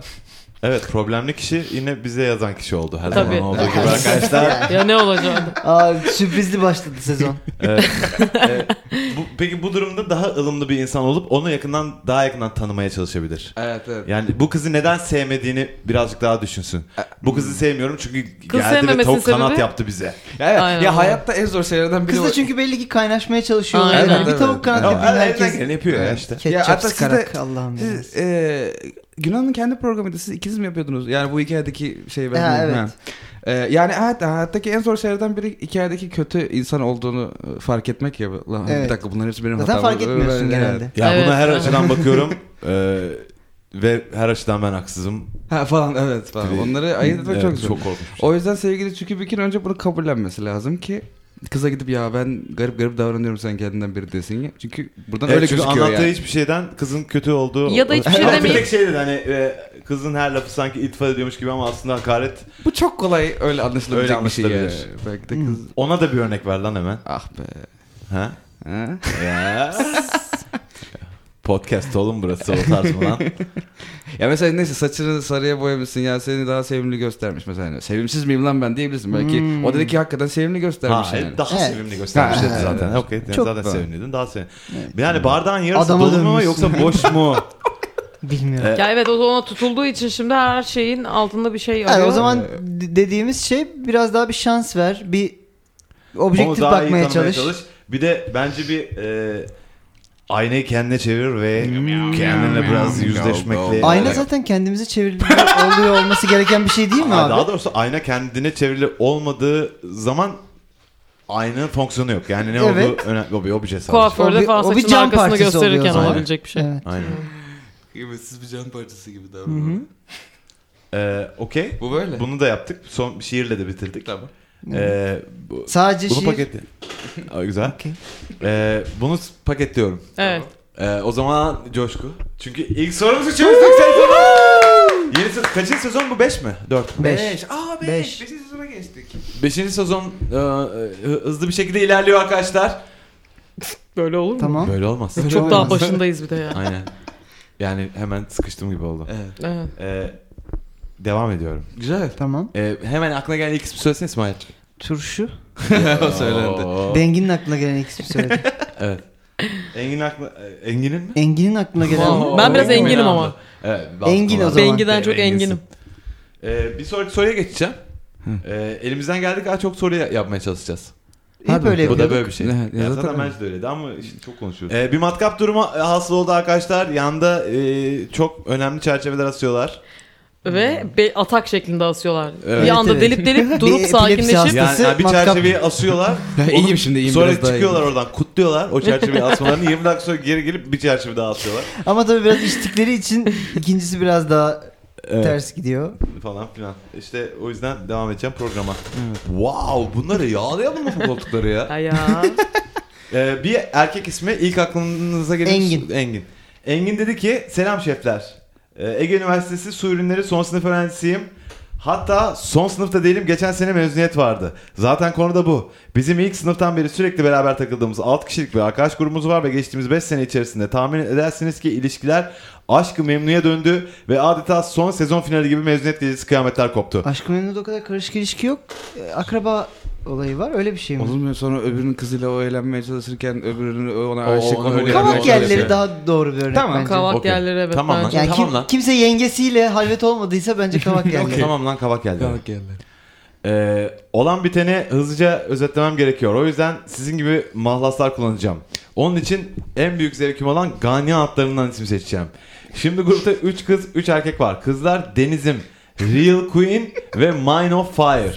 evet problemli kişi yine bize yazan kişi oldu her
Tabii.
zaman olduğu gibi arkadaşlar.
ya ne olacak?
Aa, sürprizli başladı sezon.
Evet. Evet. Bu- peki bu durumda daha ılımlı bir insan olup onu yakından daha yakından tanımaya çalışabilir.
Evet evet.
Yani bu kızı neden sevmediğini birazcık daha düşünsün. Bu kızı sevmiyorum çünkü
Kız
geldi ve
sevmemesinin
tavuk kanat
sebebi?
yaptı bize.
Ya, evet.
Aynen,
ya
aynen.
hayatta en zor şeylerden biri
Kız da
o.
çünkü belli ki kaynaşmaya çalışıyorlar.
Aynen.
Yani bir
Evet,
tavuk
evet.
kanadı
Ya,
bilen herkes.
Herkes yapıyor ya işte.
Ya
Ketçap
hatta
sıkarak
siz de-
Allah'ım ya.
Siz, e, Yunan'ın kendi programıydı. Siz ikiniz mi yapıyordunuz? Yani bu hikayedeki şey ben.
Ha,
Ha,
evet.
E, yani evet hayattaki en zor şeylerden biri hikayedeki kötü insan olduğunu e, fark etmek ya. Lan, Bir
Evet.
dakika bunların hepsi benim
Zaten
hatam.
fark etmiyorsun
Evet.
genelde.
Ya
Evet.
buna her açıdan bakıyorum. Ee, ve her açıdan ben haksızım.
Ha falan evet falan.
Tabii.
Onları ayırt etmek
Evet,
çok zor.
çok korkmuş.
O yüzden sevgili Çükübük'ün önce bunu kabullenmesi lazım ki kıza gidip ya ben garip garip davranıyorum sen kendinden biri desin ya. Çünkü buradan
Evet,
öyle
çünkü
gözüküyor
anlattığı
yani.
hiçbir şeyden kızın kötü olduğu...
Ya da hiçbir şey
Ama
demeyip-
Bir tek şey dedi hani e, kızın her lafı sanki itfal ediyormuş gibi ama aslında hakaret.
Bu çok kolay öyle anlaşılabilecek
Öyle
bir şey ya.
anlaşılabilir. Hmm.
Belki de kız
Ona da bir örnek ver lan hemen.
ah be.
Ha?
Ha?
Ya. Podcast oğlum burası o tarz mı lan?
Ya mesela neyse saçını sarıya boyamışsın ya seni daha sevimli göstermiş mesela. Sevimsiz miyim lan ben diyebilirsin. Belki
Hmm.
o dedi ki hakikaten sevimli göstermiş
ha, e,
yani.
daha
Evet.
sevimli göstermiş dedi
Ha,
zaten.
evet.
Okey, yani
Çok
zaten
doğru.
sevimliydin daha sevimli. Yani bardağın yarısı
Adama
dolu mu
dönmüşsün.
yoksa boş mu?
Bilmiyorum.
Evet.
Ya evet o ona tutulduğu için şimdi her şeyin altında bir şey
Yani
arıyor.
o zaman d- dediğimiz şey biraz daha bir şans ver. Bir objektif
Onu daha iyi
bakmaya
tanımaya
çalış.
Bir de bence bir e, aynayı kendine çevir ve kendinle biraz yüzleşmekle.
Ayna zaten kendimizi çevirip oluyor olması gereken bir şey değil mi
Aa,
abi?
Daha doğrusu ayna kendine çevrili olmadığı zaman aynanın fonksiyonu yok. Yani ne
Evet.
olduğu önemli. O bir obje sadece.
O
Kuaförde
bir-
falan
o bir
saçının
cam
arkasını
parçası oluyor
gösterirken
zaten.
olabilecek bir şey.
Evet.
Aynen.
Kıymetsiz bir can parçası gibi
Hı
davranıyor.
hı.
Ee, Okey.
Bu böyle.
Bunu da yaptık. Son şiirle de bitirdik.
Tamam.
Ee, bu,
Sadece şey,
bunu
şiir.
paketli. Aa, güzel.
Okey.
Ee, bunu s- paketliyorum.
Evet.
Ee, o zaman Coşku. Çünkü ilk sorumuzu çözdük sezonu. Yeni sezon. Kaçıncı sezon bu? 5 mi? 4.
Beş.
Aa beş.
Beş.
Beşinci sezona geçtik.
5. sezon e, e, hızlı bir şekilde ilerliyor arkadaşlar.
Böyle olur mu?
Tamam.
Böyle olmaz.
Böyle
Çok daha
olmaz.
başındayız bir de ya.
Aynen. Yani hemen sıkıştım gibi oldu.
Evet.
Evet.
Ee, devam ediyorum.
Güzel.
Tamam.
Ee, hemen aklına gelen ilk ismi söylesene İsmail.
Turşu.
O söylendi.
Oo.
Bengin'in aklına gelen ilk ismi söyledi.
Evet. Engin aklı... e, Engin'in mi?
Engin'in aklına gelen
Tamam. Ben biraz
Engin
enginim
mi?
ama.
Evet,
Engin o zaman.
Bengiden çok
Enginsin.
enginim.
Ee, bir sonraki soruya geçeceğim. Ee, elimizden geldik daha çok soru yapmaya çalışacağız.
İyi böyle
Bu da
yapıyorduk.
böyle bir şey.
Ne-
Ya
ya
zaten,
zaten öyle.
bence de öyleydi ama işte çok konuşuyoruz. Ee, bir matkap durumu hasıl oldu arkadaşlar. Yanda e, çok önemli çerçeveler asıyorlar.
Ve be- atak şeklinde asıyorlar.
Hmm. Evet,
bir anda
evet.
delip delip durup
Bir
sakinleşip
epilepsi
Yani,
Hastası
bir
matkap.
çerçeveyi asıyorlar.
Ya
Onu
iyiyim şimdi iyiyim
Sonra
biraz daha
çıkıyorlar
iyiyim.
oradan kutluyorlar o çerçeveyi asmalarını. 20 dakika sonra geri gelip bir çerçeve daha asıyorlar.
Ama tabii biraz içtikleri için ikincisi biraz daha ters gidiyor.
falan filan. İşte o yüzden devam edeceğim programa. Wow bunları yağlayalım mı bu koltukları ya?
Ay ya.
Ee, bir erkek ismi ilk aklınıza gelen
Engin.
Engin. Engin dedi ki selam şefler. Ee, Ege Üniversitesi su ürünleri son sınıf öğrencisiyim. Hatta son sınıfta değilim geçen sene mezuniyet vardı. Zaten konu da bu. Bizim ilk sınıftan beri sürekli beraber takıldığımız 6 kişilik bir arkadaş grubumuz var ve geçtiğimiz 5 sene içerisinde tahmin edersiniz ki ilişkiler aşkı memnuya döndü ve adeta son sezon finali gibi mezuniyet gecesi kıyametler koptu.
Aşkın Memnu'da o kadar karışık ilişki yok. Ee, Akraba olayı var öyle bir şey mi?
Olur mu? Sonra öbürünün kızıyla o eğlenmeye çalışırken öbürünü ona
O-
aşık
ona
oluyor.
öyle-
Kavak
Öyle bir
yerleri
şey.
daha doğru bir örnek
Tamam,
bence.
Kavak
Okey.
yerleri evet
Tamam lan.
bence.
Yani
Tamam
kim-
lan.
kimse yengesiyle halvet olmadıysa bence kavak yerleri.
Tamam lan kavak geldi.
Kavak yerleri.
Ee, olan biteni hızlıca özetlemem gerekiyor. O yüzden sizin gibi mahlaslar kullanacağım. Onun için en büyük zevkim olan Ganyan atlarından isim seçeceğim. Şimdi grupta 3 kız 3 erkek var. Kızlar Denizim, Real Queen ve Mine of Fire.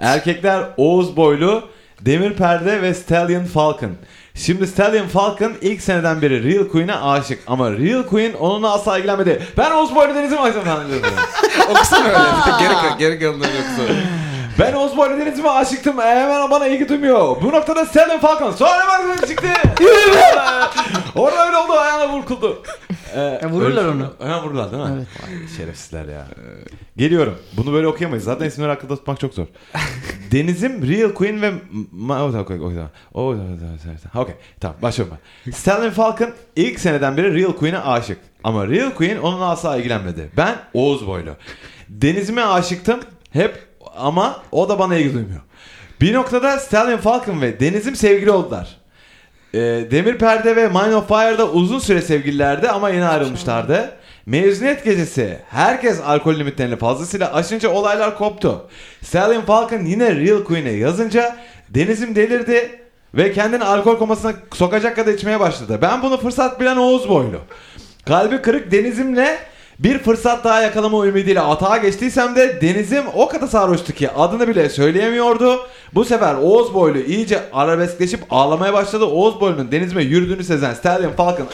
Erkekler Oğuz Boylu, Demir Perde ve Stallion Falcon. Şimdi Stallion Falcon ilk seneden beri Real Queen'e aşık ama Real Queen onunla asla ilgilenmedi. Ben Oğuz Boylu Denizim aşkım falan diyorum.
Okusana öyle. Bir de geri, geri kalanları yoksa.
Ben Osborne Deniz'ime aşıktım. Ee, Hemen bana ilgi duymuyor. Bu noktada Stanley Falcon sonra baktım çıktı. Orada öyle oldu ayağına vurkuldu. Ee,
E, vururlar
öyle-
onu.
Hemen vururlar değil mi?
Evet.
Vay, şerefsizler ya. Geliyorum. Bunu böyle okuyamayız. Zaten isimleri akılda tutmak çok zor. Deniz'im Real Queen ve... Ma- o da- o da- o da- o da- o da- o da- Okey. Tamam başlıyorum ben. Stanley Falcon ilk seneden beri Real Queen'e aşık. Ama Real Queen onunla asla ilgilenmedi. Ben Oğuz Boylu. Deniz'ime aşıktım. Hep ama o da bana ilgi duymuyor. Bir noktada Stanley Falcon ve Deniz'im sevgili oldular. Ee, Demir Perde ve Mine of Fire'da uzun süre sevgililerdi ama yeni ayrılmışlardı. Mezuniyet gecesi herkes alkol limitlerini fazlasıyla aşınca olaylar koptu. Stallion Falcon yine Real Queen'e yazınca Deniz'im delirdi ve kendini alkol komasına sokacak kadar içmeye başladı. Ben bunu fırsat bilen Oğuz Boylu. Kalbi kırık Deniz'imle bir fırsat daha yakalama ümidiyle atağa geçtiysem de Deniz'im o kadar sarhoştu ki adını bile söyleyemiyordu. Bu sefer Oğuz Boylu iyice arabeskleşip ağlamaya başladı. Oğuz Boylu'nun Deniz'ime yürüdüğünü sezen Stallion Falcon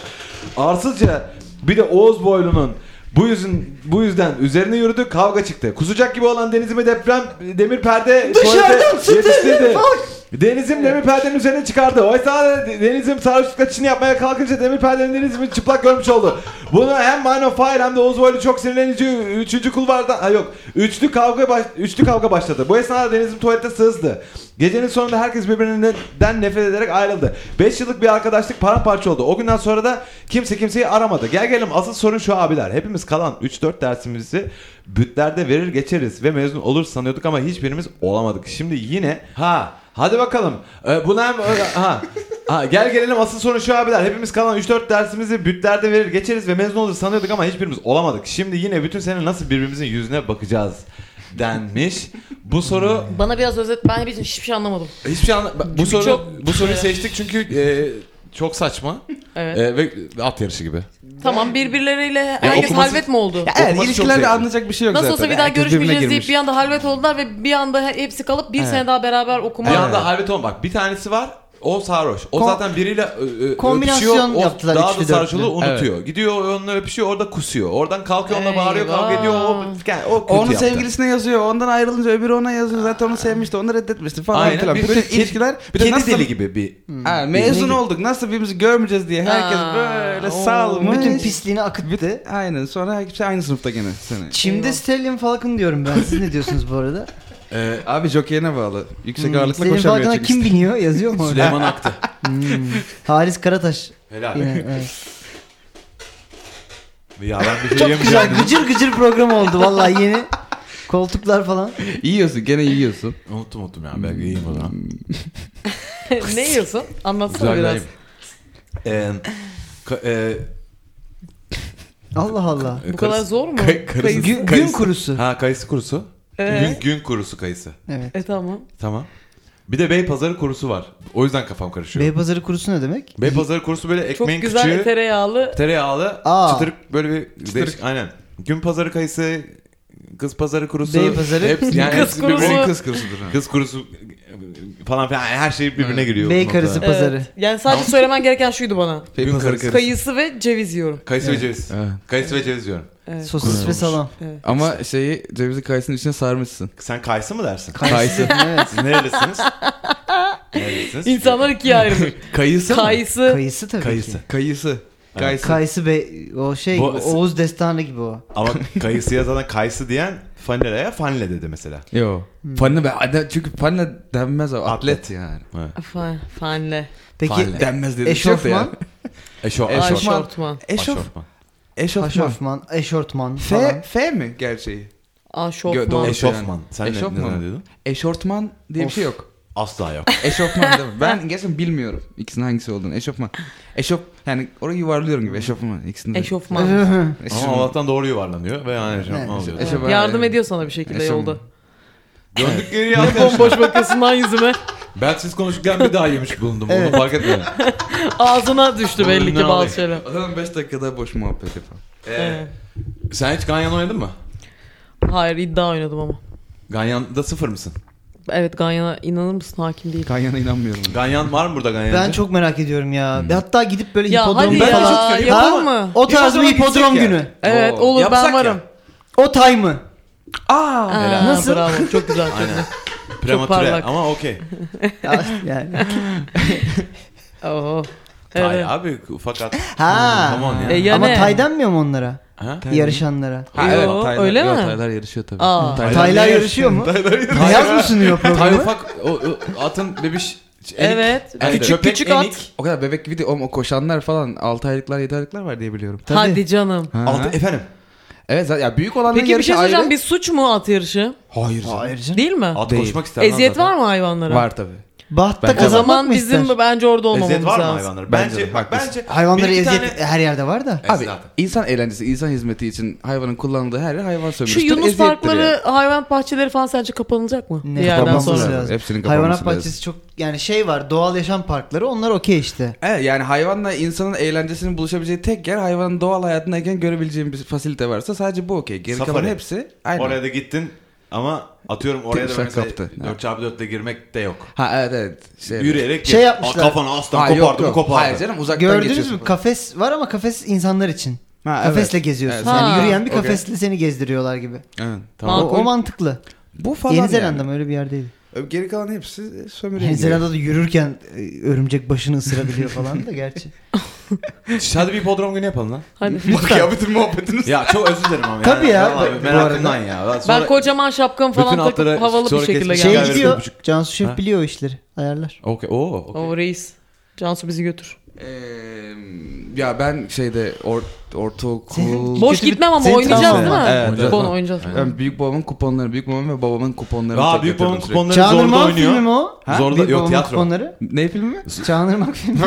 arsızca bir de Oğuz Boylu'nun bu yüzün bu yüzden üzerine yürüdü kavga çıktı. Kusacak gibi olan Deniz'ime deprem demir perde
Dışarıdan
tuvalete
Stallion
yetiştirdi.
Falcon!
Denizim demir perdenin üzerine çıkardı. Oysa Denizim sarhoşluk kaçını yapmaya kalkınca demir perdenin Denizim'i çıplak görmüş oldu. Bunu hem Man of Fire hem de Oğuz Boylu çok sinirlenici üçüncü kulvardan... Ha yok. Üçlü kavga, baş- üçlü kavga başladı. Bu esnada Denizim tuvalette sızdı. Gecenin sonunda herkes birbirinden nefret ederek ayrıldı. 5 yıllık bir arkadaşlık paramparça oldu. O günden sonra da kimse kimseyi aramadı. Gel gelelim asıl sorun şu abiler. Hepimiz kalan 3-4 dersimizi bütlerde verir geçeriz ve mezun olur sanıyorduk ama hiçbirimiz olamadık. Şimdi yine ha Hadi bakalım. Ee, buna hem- ha. Ha, gel gelelim asıl sorun şu abiler. Hepimiz kalan 3-4 dersimizi bütlerde verir geçeriz ve mezun olur sanıyorduk ama hiçbirimiz olamadık. Şimdi yine bütün sene nasıl birbirimizin yüzüne bakacağız denmiş. Bu soru
Bana biraz özet. Ben hiç- hiçbir şey anlamadım.
hiçbir şey anla- bu
Çünkü
soru
çok-
bu soruyu seçtik çünkü e, çok saçma
Evet.
E, ve at yarışı gibi.
Tamam birbirleriyle herkes
okuması-
halvet mi oldu?
Evet
Okuması çok
ilişkilerde
zevkli.
anlayacak bir şey yok
Nasıl
zaten.
olsa bir daha
Herkes birbirine
görüşmeyeceğiz deyip
girmiş.
bir anda halvet oldular ve bir anda hepsi kalıp bir sene daha beraber okuma.
Bir anda Halvet Oğan bak bir tanesi var o sarhoş. O
Ko-
zaten biriyle ö- ö-
Kombinasyon
öpüşüyor, o
yaptılar,
Daha da
üçlü,
sarhoşluğu
dörtlü.
unutuyor. Gidiyor onunla öpüşüyor orada kusuyor. Oradan kalkıyor onunla
Eyvah.
bağırıyor kavga ediyor. O, yani o kötü
Onun
yaptı.
sevgilisine yazıyor. Ondan ayrılınca öbürü ona yazıyor. Zaten onu sevmişti. Onu reddetmişti falan
Aynen.
filan.
bir
Bütün
böyle ked-
ilişkiler bir de
kedi
nasıl
deli gibi bir
Ha, mezun olduk. Nasıl birbirimizi görmeyeceğiz diye herkes
Aa,
böyle
oo,
salmış.
Bütün pisliğini akıttı.
Aynen. Sonra hepsi aynı sınıfta gene seni.
Çimde Sterling Falcon diyorum ben. Siz ne diyorsunuz bu arada?
Ee,
Abi jockey'ine bağlı. Yüksek
Hmm.
ağırlıkla
Sterling
koşamıyor
Falcon'a
çünkü.
kim biniyor? Yazıyor mu orada?
Süleyman Aktı.
Hmm. Haris Karataş.
Helal.
Yine, evet.
ya ben bir şey
Çok
yemeyeceğim.
güzel gıcır gıcır program oldu vallahi yeni. Koltuklar falan.
Yiyorsun gene yiyorsun.
Unuttum unuttum ya ben yiyeyim o zaman.
ne yiyorsun? Anlatsana
Güzel
biraz.
yiyeyim. Ee, ka- e,
Allah Allah.
Bu kadar zor mu?
Kay- karısı-
Gü- gün
kayısı.
kurusu.
Ha kayısı kurusu.
Ee?
Gün, gün kurusu kayısı.
Evet.
E tamam.
Tamam. Bir de Beypazarı kurusu var. O yüzden kafam karışıyor.
Beypazarı kurusu ne demek?
Beypazarı kurusu böyle
Çok
ekmeğin
güzel
küçüğü,
tereyağlı.
tereyağlı,
Aa.
çıtırık böyle bir değişik- aynen. Gün pazarı kayısı, kız pazarı kurusu.
Beypazarı-
hepsi, yani
Kız
hepsi birbirine-
kurusu.
Benim
Bu-
kız kırısıdır. ha.
Kız kurusu falan filan her şey birbirine giriyor.
Bey
bu
karısı
noktada.
Evet.
pazarı.
Yani sadece söylemen gereken şuydu bana.
Şey,
Gün
pazarı
karısı.
karısı.
Kayısı ve ceviz yiyorum.
Kayısı ve ceviz.
Evet.
Kayısı ve ceviz diyorum.
Evet.
Sosis ve salam.
evet.
Ama şeyi cevizi kayısının içine sarmışsın.
Sen kayısı mı dersin?
Kayısı.
Kayısı. evet.
Siz nerelisiniz? nerelisiniz?
İnsanlar ikiye ayrılır.
Kayısı mı?
Kayısı.
Kayısı tabii
Kayısı.
ki.
Kayısı. Kayısı.
Kayısı Bey o şey
Bu-
Oğuz Destanı gibi o.
Ama kayısıya zaten kayısı diyen fanilaya fanile dedi mesela.
Yo. Fanne be. adam- Çünkü fanne denmez abi. Hmm. Atlet,
Atlet.
yani.
Fa- Fanle.
Peki
Fanle.
Denmez şey dedi.
eşofman,
Eşo,
Eşofman.
Ay, Şortman.
Eşof. Eşofman.
haşofman, eşortman
F,
falan.
F mi gerçeği? Gö-
Aşofman.
doğru.
Eşofman.
Yani.
Sen ne-
Eşofman.
ne dedin?
Eşortman diye bir şey yok.
Asla yok.
Eşofman değil mi? Ben gerçekten bilmiyorum ikisinin hangisi olduğunu. Eşofman. Eşof yani orayı yuvarlıyorum gibi eşofman. İkisini de.
Eşofman.
Ama
Eşofman.
Allah'tan doğru yuvarlanıyor ve yani şey eşofman
Evet.
oluyor.
Eşofman.
Evet, Yardım ediyor sana bir şekilde
Eşofman.
yolda.
Döndük geriye
Ne
arkadaşlar.
bomboş bakıyorsun lan yüzüme.
Ben siz konuşurken bir daha yemiş bulundum.
Evet.
Onu fark etmedim.
Ağzına düştü belli
Ne
ki
alayım?
bazı şeyler.
O zaman 5 dakikada boş muhabbet yapalım.
Ee, sen hiç ganyan oynadın mı?
Hayır iddia oynadım ama.
Ganyan'da sıfır mısın?
Evet Ganyan'a inanır mısın hakim değil.
Kanyana inanmıyorum.
Ganyan var mı burada ganyancı?
Ben çok merak ediyorum ya.
Hmm.
Hatta gidip böyle
Ya hadi
hipodromda
ya
falan.
yapalım mı?
O tarz bir
Hipodroma gitsek
hipodrom
ya.
günü.
Evet
Oo,
olur
yapsak
ben
ya.
varım.
O tay mı?
Aa!
Aa,
Nasıl?
Bravo çok güzel. çok
Aynen.
güzel.
Prematüre
parlak.
ama okey.
Ya, yani.
Oho.
Ay
Evet.
abi ufak at.
Ha.
Tamam ya.
E, ya
Ama
ne?
tay denmiyor mu onlara?
Ha?
Yarışanlara.
Ha, evet,
Yo,
Taylar,
öyle
öyle
mi?
mi? Taylar yarışıyor tabii.
Aa.
Taylar-
Taylar
ne
yarışıyor mu? Beyaz mı sunuyor
Tay
programı?
ufak o, o atın bebiş şey, enik.
Evet.
Yani
Küçük
köpek
küçük
enik.
at.
O kadar bebek gibi değil. Oğlum, o koşanlar falan 6 aylıklar 7 aylıklar var diye biliyorum.
Tabii.
Hadi canım.
Ha.
Altı, efendim.
Evet zaten ya büyük olanların
Peki bir
yarışı
şey soracağım.
ayrı.
Bir suç mu at yarışı?
Hayır.
Hayır canım.
Değil mi?
At
Değil.
koşmak ister. lan
Eziyet
zaten.
var mı hayvanlara?
Var tabii.
Bahtta
Bence var.
O
kazanmak
zaman
mı ister?
bizim bence orada
Eziyet
olmamamız
var mı
lazım.
hayvanlara?
Bence
Bence,
de,
bak
haklısın.
bence.
Hayvanlara
bir iki
eziyet
tane-
her yerde var da.
Abi
Zaten.
insan eğlencesi, insan hizmeti için hayvanın kullanıldığı her yer hayvan
Şu
sömürüsüdür.
Yunus
eziyettir
parkları,
yani.
hayvan bahçeleri falan sence kapanılacak mı?
Ne
Bir yerden
kapanması
kapanmamız
sonra.
lazım. Hepsinin
Hayvanat
kapanması lazım.
bahçesi çok yani şey var doğal yaşam parkları onlar okey işte.
Evet yani hayvanla insanın eğlencesinin buluşabileceği tek yer hayvanın doğal hayatındayken görebileceğin bir fasilite varsa sadece bu okey. Geri kalan
Safari.
hepsi aynı.
Oraya da gittin ama atıyorum oraya da
Timsah
mesela
kaptı.
4x4'le girmek de yok.
Ha evet evet. Şey,
Yürüyerek
Şey
gir.
yapmışlar.
Aa, Kafanı aslan
Ha,
kopardı
yok,
mı
yok.
kopardı.
Hayır canım uzaktan
Gördünüz
geçiyorsun.
mü kafes var ama kafes insanlar için.
Ha, evet.
kafesle geziyorsun.
Evet,
Yani
Ha.
yürüyen bir
Okey.
kafesle seni gezdiriyorlar gibi.
Evet.
O,
Tamam.
o mantıklı.
Bu falan
Yeni Zelanda
yani.
mı öyle bir yerdeydi.
Ö- Geri kalan hepsi sömürüye
Yeni
gidiyor.
Zelanda'da yürürken e, örümcek başını ısırabiliyor falan da gerçi.
Hadi bir hipodrom günü yapalım lan.
Hadi.
Bak ya bütün muhabbetiniz.
Ya çok özür dilerim ama.
Tabii ya,
Vallahi
bu- bu
merakımdan
arada.
ya. Ben,
Ben
sonra-
kocaman şapkam falan
Bütün atlara
takıp havalı
sonra
bir şekilde
kesmiş
geldim.
Şey
gel-
gidiyor.
buçuk.
Cansu Şef
Ha?
biliyor o işleri. Ayarlar.
Okey. Oo. okey.
O reis. Cansu bizi götür.
ya ben şeyde or, ortaokul...
Boş
Kötü bir-
gitmem ama
Senin
oynayacağız
travman
değil
var.
mi?
Evet, evet.
Kupon oynayacağız.
Yani büyük babamın kuponları, büyük babamın ve babamın kuponlarını
Aa
tek
Büyük
getirdim
Babam'ın
sürekli.
kuponları zorda
Çağınırman filmi mi
oynuyor.
o?
Ha? Zorla-
Büyük
yok,
babamın
tiyatro.
Kuponları.
Ne filmi?
Çağınırmak filmi.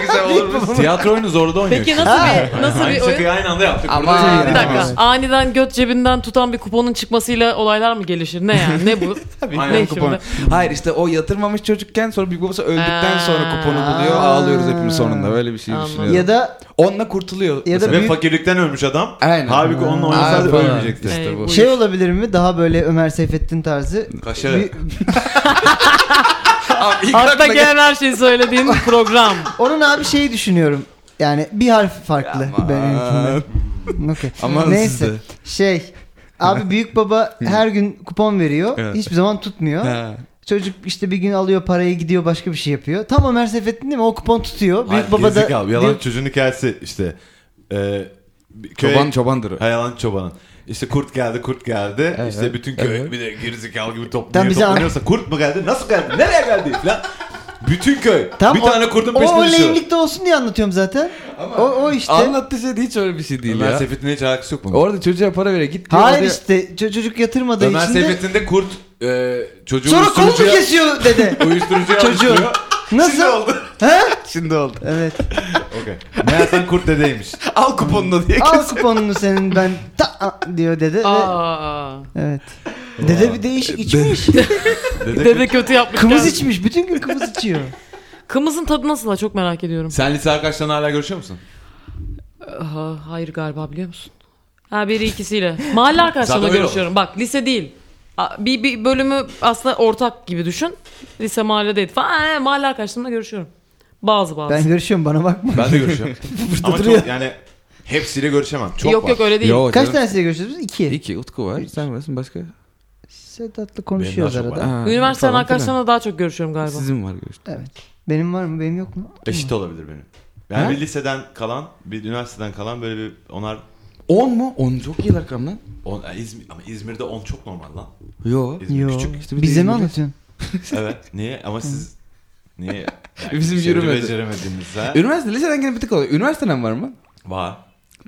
Güzel olur mu?
Tiyatro oyunu zorda oynuyor.
Peki nasıl bir nasıl bir
Aynı
oyun?
şakayı aynı anda yaptık.
Ama
Burada-
Bir dakika. Aniden göt cebinden tutan bir kuponun çıkmasıyla olaylar mı gelişir? Ne yani? Ne bu?
Aynen
Aynen
Ne
kupon. Hayır işte o yatırmamış çocukken sonra büyük babası öldükten
Ha.
sonra kuponu buluyor ağlıyoruz hepimiz sonunda böyle bir şey
Anladım.
düşünüyorum.
ya da
onunla kurtuluyor.
Ya da
Ve
mesela.
büyük-
fakirlikten ölmüş adam.
Aynen.
Halbuki onunla
Aynen.
oynasaydı ölmeyecekti.
İşte
Ey,
bu.
bu-
şey olabilir mi? Daha böyle Ömer Seyfettin tarzı.
Kaşarı.
Bir-
Abi ilk
Hatta
akla gel-
gelen her şeyi söylediğin program.
Onun abi şeyi düşünüyorum. Yani bir harf farklı
Aman.
benimkinden. Okey.
Aman
Neyse.
siz de.
Şey. Abi büyük baba her gün kupon veriyor.
Evet.
Hiçbir zaman tutmuyor.
Ha.
Çocuk işte bir gün alıyor parayı gidiyor başka bir şey yapıyor. Tam Ömer Seyfettin değil mi? O kupon tutuyor. Büyük
Hayır,
baba da
gerizekalı. Yalan
diyor-
çocuğun hikayesi işte. Ee, bir köye-
Çoban çobandır. o.
Ha, yalan çobanın. İşte kurt geldi kurt geldi.
Evet.
İşte bütün köy
Evet.
bir de gerizekalı gibi
Tam
toplanıyor.
bize-
Toplanıyorsa kurt mu geldi? Nasıl geldi? Nereye geldi falan. Bütün köy.
Tam
bir
o-
tane kurdun
O
peşine düşüyor.
oleylikte olsun diye anlatıyorum zaten. o, o işte.
Anlattığı şey de hiç öyle bir şey değil
Ömer
ya.
Seyfettin'e hiç alakası yok mu?
Orada çocuğa para vere git diyor.
Hayır
oraya-
işte ço- çocuk yatırmadığı
Ömer
için de-
Seyfettin'de kurt e, çocuğu
Sonra kol mu
uyuşturucuya,
kesiyor dede?
uyuşturucuya
Çocuğu.
alıştırıyor. Şimdi
Nasıl?
oldu.
Şimdi oldu.
Evet.
Okey. Meğer sen kurt dedeymiş.
Al kuponunu diye.
Al kuponunu senin ben ta a- diyor dede. ve-
Aa.
Evet. Dede bir değişik içmiş.
Dede,
Dede kötü yapmış.
Kımız
kendisi.
içmiş. Bütün gün kımız içiyor.
Kımızın tadı nasıl? ha? Çok merak ediyorum.
Sen lise arkadaşlarınla hala görüşüyor musun?
Ha, hayır galiba biliyor musun? Ha biri ikisiyle. Mahalle arkadaşlarımla
Zaten öyle
görüşüyorum. Bak lise değil. A- Bir, bir bölümü aslında ortak gibi düşün. Lise mahalledeydi falan. Ha, ha, mahalle arkadaşlarımla görüşüyorum. Bazı bazı. E,
Ben görüşüyorum bana bakma.
Ben de görüşüyorum. Ama çok yani hepsiyle görüşemem. Çok
yok
var.
yok öyle değil.
Kaç tanesiyle görüşüyoruz? İki.
İki Utku var. Sen varsın başka.
Sedat'la konuşuyoruz
Benim daha çok
arada.
Ha,
Üniversiteden
falan filan.
arkadaşlarımla daha çok görüşüyorum galiba.
Sizin var görüştüm.
Benim var mı? Benim yok mu?
Eşit olabilir benim. Yani
Ha?
bir liseden kalan, bir üniversiteden kalan böyle bir onar...
10 mu? 10 çok iyi rakam lan.
On, e, İzmir, ama İzmir'de 10 çok normal lan.
Yo.
İzmir
Yok.
küçük.
İşte bir de
Bize mi
İzmir'de-
anlatıyorsun?
Evet. Niye? Ama siz... Niye?
Bizim
İşleri
yürümedi.
Beceremediniz ha?
Üniversite liseden gene bir tık oluyor. Üniversiteden var mı?
Var.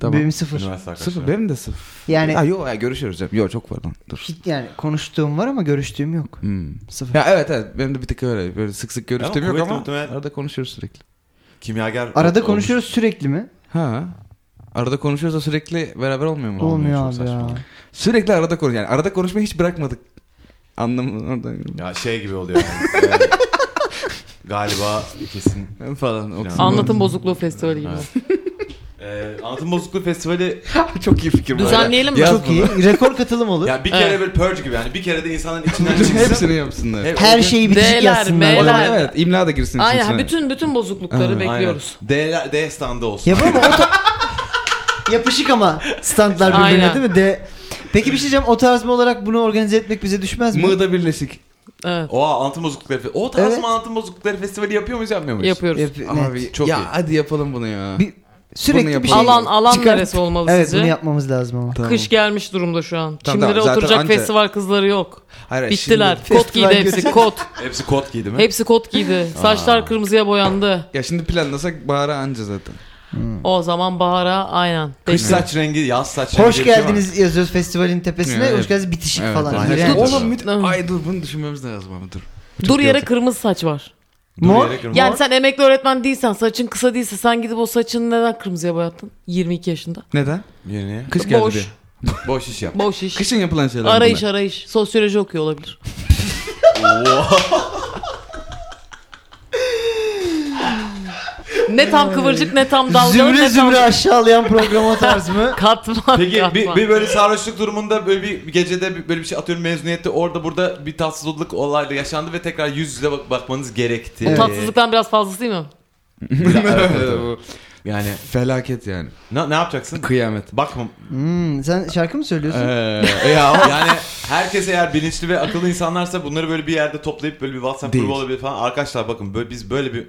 Tamam.
Benim sıfır.
Üniversite arkadaşlar.
Sıfır. Benim de sıfır.
Yani
Ha, yo ya görüşüyoruz. hep. Yo çok var lan. Dur.
hiç- yani konuştuğum var ama görüştüğüm yok.
Hmm.
Sıfır.
Ya evet evet benim de bir tık öyle böyle sık sık görüştüğüm yok
kuvvetli
ama
muhtemelen-
arada konuşuyoruz sürekli.
Kimyager...
Arada
olmuş.
konuşuyoruz sürekli mi?
Ha. Arada konuşuyoruz da sürekli beraber olmuyor mu?
Olmuyor
çok
abi ya.
saçma.
Sürekli arada konuş yani arada konuşmayı hiç bırakmadık. Anlamı orada
Ya şey gibi oluyor. Yani. Evet. Galiba kesin
falan. o kısmı.
Anlatım bozukluğu festivali gibi.
Evet. Ee, Anlatım Bozukluğu Festivali
çok iyi fikir bu.
Düzenleyelim mi?
Yaz
Çok
bunu.
iyi. Rekor katılım olur.
ya bir kere
Evet.
böyle purge gibi yani bir kere de insanın içinden çıksın.
Hepsini yapsınlar.
Hep-
Her şeyi bitişik
D'ler,
yazsınlar.
O zaman
Helal.
evet imla da girsin işin
Aynen
içine.
bütün bütün bozuklukları
Aynen.
bekliyoruz.
D, D standı olsun.
Yapar mı? O ta- Yapışık ama standlar birbirine
Aynen.
değil mi? De... Peki bir şey diyeceğim. O tarz mı olarak bunu organize etmek bize düşmez mi?
Mığda birleşik.
Evet.
Oha Anlatım Bozuklukları Festivali. O tarz
Evet.
mı Anlatım Bozuklukları Festivali yapıyor muyuz yapmıyor muyuz?
Yapıyoruz.
Yap-
Ama
net.
bir-
Çok
ya
iyi.
hadi yapalım bunu ya.
Bir- Sürekli bir şey.
yapalım.
alan alan
çıkart-
neresi olmalı
Evet
sizce?
bunu yapmamız lazım ama.
Tamam.
Kış gelmiş durumda şu an.
Tamam,
Kimlere
tamam. Zaten
oturacak
anca-
festival kızları yok.
Hayır, hayır,
Bittiler.
Şimdi,
Kot giydi
festival
hepsi
görecek-
kot.
Hepsi kot giydi mi?
Hepsi kot giydi. Saçlar kırmızıya boyandı.
ya şimdi planlasak bahara anca zaten.
O zaman bahara aynen.
Kış
Bekliyor.
saç rengi, yaz saç rengi.
Hoş
diye bir şey var.
geldiniz yazıyoruz festivalin tepesine.
Evet.
Hoş geldiniz bitişik
Evet,
falan.
aynen.
Yani
Çok
Oğlum
güzel.
müt- Ay dur bunu düşünmemiz lazım ama dur.
Dur yere
yoracak.
kırmızı saç var.
Dur
Mor.
yere kırma.
Yani sen emekli öğretmen değilsen, saçın kısa değilse sen gidip o saçını neden kırmızıya boyattın? 22 yaşında.
Neden?
Yeni.
Kış geldi
Boş.
diye.
Boş iş yap.
Boş iş.
Kışın yapılan şeyler
arayış
bunlar.
arayış. Sosyoloji okuyor olabilir. ne tam kıvırcık ne tam dalgalı
Zümre
ne
zümre
tam
aşağılayan program o tarz mı?
katman
Peki bir,
katman.
bir böyle sarhoşluk durumunda böyle bir bir gecede bir- böyle bir şey atıyorum mezuniyette orada burada bir tatsızlık olayla yaşandı ve tekrar yüz yüze bak- bakmanız gerekti.
O tatsızlıktan biraz fazlası değil mi?
Bir- evet, evet.
Bu
yani
Felaket yani.
ne, ne yapacaksın?
Kıyamet.
Bakma.
Hmm, sen şarkı mı söylüyorsun?
Ee,
ya yani herkes eğer bilinçli ve akıllı insanlarsa bunları böyle bir yerde toplayıp böyle bir WhatsApp
Değil.
grubu olabilir falan. Arkadaşlar bakın böyle, biz böyle bir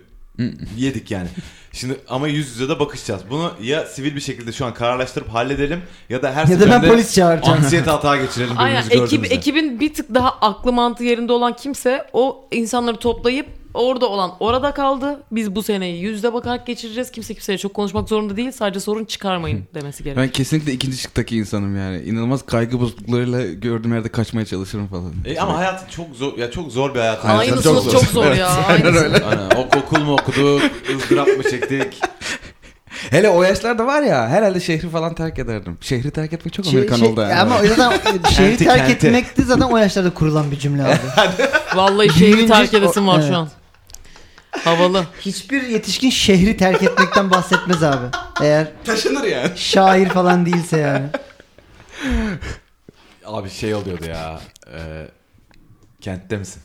yedik yani. Şimdi ama yüz yüze de bakışacağız. Bunu ya sivil bir şekilde şu an kararlaştırıp halledelim ya da her
ya da ben
seferinde
polis çağıracağım.
Anksiyete hata geçirelim
Aynen
birbirimizi
ekip,
gördüğümüzde.
ekibin bir tık daha aklı mantığı yerinde olan kimse o insanları toplayıp Orada olan orada kaldı. Biz bu seneyi yüzde bakarak geçireceğiz. Kimse kimseye çok konuşmak zorunda değil. Sadece sorun çıkarmayın demesi gerek.
Ben kesinlikle ikinci şıktaki insanım yani. İnanılmaz kaygı bozukluklarıyla gördüğüm yerde kaçmaya çalışırım falan.
E, ama hayat çok zor ya çok zor bir hayat.
Aynen,
Aynı
çok
sınıf
zor.
çok zor ya. Aynı sınıf.
Aynen. Ok okul mu okuduk, ızdırap mı çektik?
Hele o yaşlarda var ya herhalde şehri falan terk ederdim. Şehri terk etmek çok Amerikan
Şey-
oldu
şey-
yani.
Ama o zaten şehri
Kenti,
terk
kenti.
etmek de zaten o yaşlarda kurulan bir cümle abi.
Vallahi şehri
Birinci-
terk edesim var
Evet.
şu an. Havalı.
Hiçbir yetişkin şehri terk etmekten bahsetmez abi. Eğer
taşınır yani.
şair falan değilse yani.
Abi şey oluyordu ya. E, kentte misin?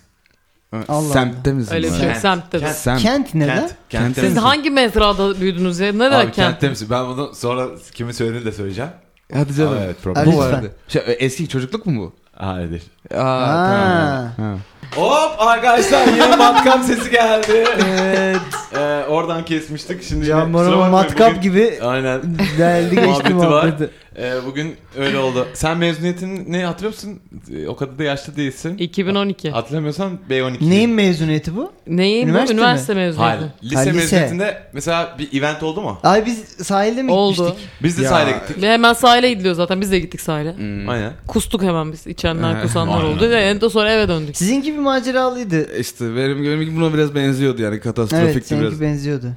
Allah
Semtte misin?
Öyle bir şey. yok.
Kent.
Semtte de.
Kent.
Semt.
Kent ne lan?
Kent. Kentte
Siz
Siz
misin?
hangi mezrada büyüdünüz ya? Ne
Abi
derken?
kentte misin? Ben bunu sonra kimin söylediğini de söyleyeceğim.
Hadi canım.
Aa, evet
Ha,
problem.
Bu
lütfen.
vardı. Şey, eski çocukluk mu bu?
Hayır.
Aa,
Ha.
tamam. Ha.
Hop arkadaşlar yine matkap sesi geldi.
Evet.
Ee, oradan kesmiştik. Şimdi yine-
Can Bonomo
kusura bakmayın,
matkap
bugün-
gibi
Aynen.
deldi geçti
Muhabbeti var.
muhabbeti.
Ee, bugün öyle oldu. Sen mezuniyetin ne hatırlıyor musun? Ee, O kadar da yaşlı değilsin.
2012.
Hatırlamıyorsan B12.
Neyin mezuniyeti bu?
Neyi?
Üniversite
Üniversite,
mi?
üniversite mezuniyeti.
Hayır. Lise,
Ha, lise.
mezuniyetinde mesela bir event oldu mu?
Abi biz sahilde mi
Oldu.
gitmiştik?
Biz de
Ya.
sahile gittik.
Ve hemen sahile gidiliyor zaten. Biz de gittik sahile.
Hmm.
Aynen.
Kustuk hemen biz. İçenler
Ee,
kusanlar
aynen.
oldu. Ve en de sonra eve döndük.
Sizinki bir maceralıydı.
İşte benim gönlüm buna biraz benziyordu yani
Evet
katastrofikti
seninki
biraz.
benziyordu.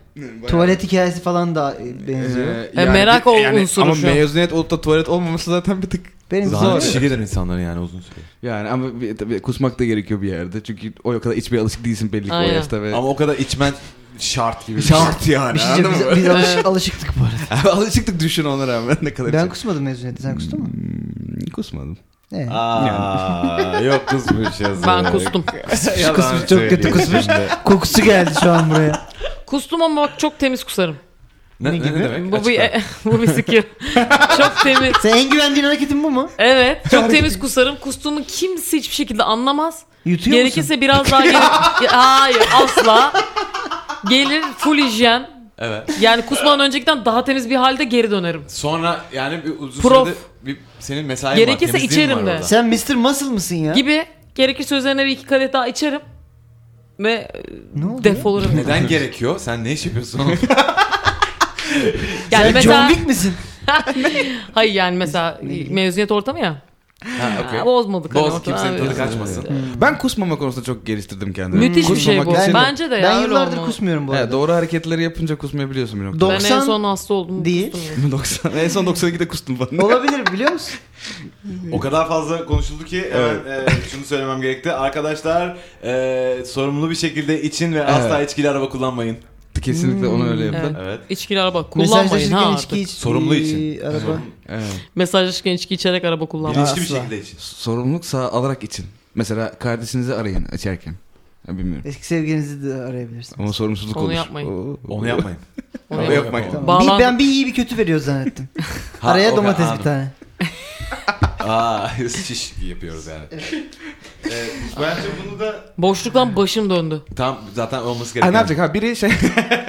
Tuvalet hikayesi falan da e, benziyor.
Ee,
E, merak ol unsuru
Ama
şu an.
mezuniyet olup da tuvalet olmaması zaten bir tık
Benim
Zaten
zor.
işi gelir insanların yani uzun süre.
yani ama bir, tabii kusmak da gerekiyor bir yerde. Çünkü o kadar içmeye alışık değilsin belli ki o
Aynen.
yaşta ve
Ama o kadar içmen şart gibi. bir şey.
şart yani.
Bir şey
anladın
diyeceğim,
mı?
biz, biz alış- alışıktık bu arada.
Alışıktık düşün ona rağmen ne kadar
Ben
içim.
kusmadım mezuniyette. Sen kustun mu?
Hmm, kusmadım.
Evet.
Aa, yok kızmış yazık.
Ben kustum.
Yalan
Kusmuş, çok kötü
söyleyeyim
kusmuş.
şimdi.
Kokusu geldi şu an buraya.
Kustum ama bak çok temiz kusarım.
Ne,
Ne
ne,
gibi?
ne demek?
Bu bir, e-
Açıkla.
bu bir skill. çok temiz.
Sen en güvendiğin hareketin bu mu?
Evet. Çok temiz kusarım. Kustuğumu kimse hiçbir şekilde anlamaz.
Yutuyor musun?
Gerekirse biraz daha geri... Ya, Hayır asla. Gelir full hijyen.
Evet.
Yani kusmadan öncekiden daha temiz bir halde geri dönerim.
Sonra yani bir uzun
Prof.
sürede bir senin mesain
Gerekirse
var. temizliğin
içerim
var
de.
orada.
Sen Mr. Muscle mısın ya?
Gibi gerekirse üzerine bir iki kadet daha içerim. Ve e,
Ne oldu?
defolurum.
Neden gerekiyor? Sen ne iş yapıyorsun?
Yani
Sen
mesela,
John Wick misin?
hayır yani mesela mezuniyet ortamı ya.
ha, okey.
Ha, bozmadık. hani
Boz
ortamı.
kimsenin
Abi,
tadı kaçmasın.
Hmm.
Ben kusmama konusunda çok geliştirdim kendimi.
Müthiş bir şey bu.
Kusmamak için-
Bence de ya.
Ben
öyle
yıllardır
olmalı.
kusmuyorum bu
He,
arada.
doğru hareketleri yapınca kusmayabiliyorsun bir noktada.
Do-
Ben en
90
son hasta oldum.
değil.
kustum ya.
90, en son 92'de kustum ben.
Olabilir biliyor musun?
O kadar fazla konuşuldu ki hemen e, şunu söylemem gerekti. Arkadaşlar e, sorumlu bir şekilde için ve asla içkili araba kullanmayın.
Kesinlikle onu öyle yapın.
Evet.
Evet.
İçkili araba kullanmayın ha
Mesajlaşırken
artık.
içki iç.
Sorumlu için.
Ee, Araba.
Evet.
Mesajlaşırken içki içerek araba kullanmayın.
Bilinçli bir
asla.
şekilde için.
Sorumluluk sağ alarak için. Mesela kardeşinizi arayın içerken. Ya bilmiyorum.
Eski sevgilinizi de arayabilirsin.
Ama sorumsuzluk
Onu
olur.
yapmayın.
Oo.
Onu yapmayın.
Onu
Onu
yapma.
yapmayın.
Tamam.
Bağlan-
Bir, ben bir iyi bir kötü veriyor zannettim. Araya
okey,
domates bir
anladım.
tane.
Aa, şiş yapıyoruz yani. Ee, bence bunu da
Boşluktan başım döndü.
tam zaten olması
Ha,
gereken.
ne yapacak ha biri şey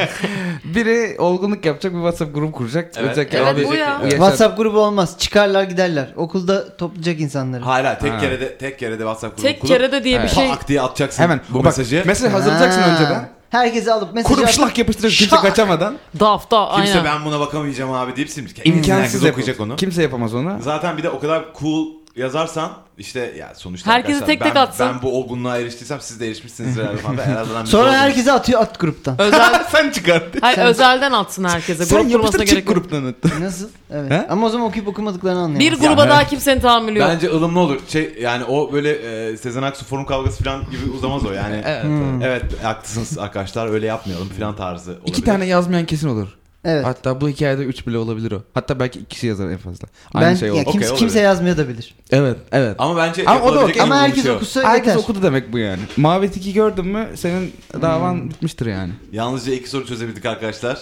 biri olgunluk yapacak bir WhatsApp grup kuracak.
Evet.
Diyecek ki,
Evet,
abi,
bu ya.
yaşa-
WhatsApp grubu olmaz. Çıkarlar giderler. Okulda toplayacak insanları.
Hayır hayır, tek
Ha.
kerede tek kerede WhatsApp grubu
Tek kere de diye bir şey.
tak diye atacaksın
Hemen
bu
bak,
mesajı.
Mesajı hazırlayacaksın
Ha.
önceden.
Herkesi alıp mesaj
Kurup
at-
şlak yapıştıracaksın kimse
Şak.
kaçamadan.
Daf da
Kimse
aynen.
ben buna bakamayacağım abi deyip silmiş. Herkes
İmkansız
okuyacak
yapamaz.
onu.
Kimse yapamaz onu.
Zaten bir de o kadar cool yazarsan işte ya sonuçta
Herkesi
arkadaşlar,
tek tek
ben,
atsın.
ben bu olgunluğa eriştiysem siz de erişmişsiniz herhalde falan. Ben en azından bir şey
Sonra
olgunum.
herkese atıyor at gruptan.
Özel,
Sen çıkar.
hayır,
Sen-
özelden atsın herkese.
Sen
Grup kurmasına
yapıştır çık
gerek yok.
gruptan.
Nasıl? Evet.
He?
Ama o zaman okuyup okumadıklarını anlayamaz.
Bir gruba
Ya,
daha kimsenin tahammülü yok.
Bence ılımlı olur. Şey yani o böyle e, Sezen Aksu forum kavgası falan gibi uzamaz o yani. evet,
Hmm.
evet haklısınız arkadaşlar öyle yapmayalım falan tarzı olabilir.
İki tane yazmayan kesin olur.
Evet.
Hatta bu hikayede 3 bile olabilir o. Hatta belki ikisi yazar en fazla. Aynı
ben
şey
ya
olur.
kimse,
Okey,
kimse
olabilir.
yazmıyor da bilir.
Evet, evet.
ama bence
Ama o da
yapılabilecek
okey.
en
Ama
uygun
herkes
şey o.
okusa
Herkes
yeter.
okudu demek bu yani. Mavi tiki gördün mü senin davan
Hmm.
bitmiştir yani.
Yalnızca iki soru çözebildik arkadaşlar.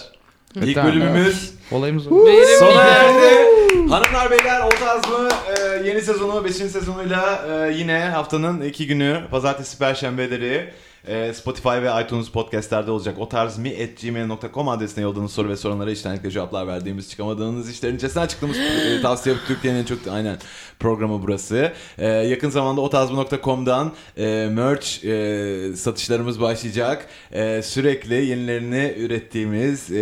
Evet,
İlk
tamam.
bölümümüz
Olayımız o.
Verimli.
sona erdi. Hanımlar beyler o tarz mı e, yeni sezonu 5. sezonuyla e, yine haftanın iki günü pazartesi perşembeleri Ee, Spotify ve iTunes podcastlerde olacak. O tarz mi at gmail.com adresine yolladığınız soru ve sorunlara içtenlikle cevaplar verdiğimiz çıkamadığınız işlerin içerisine açıkladığımız e, tavsiye Türkiye'nin en çok aynen programı burası. Ee, yakın zamanda otarzmi.com'dan e, merch e, satışlarımız başlayacak. E, sürekli yenilerini ürettiğimiz e,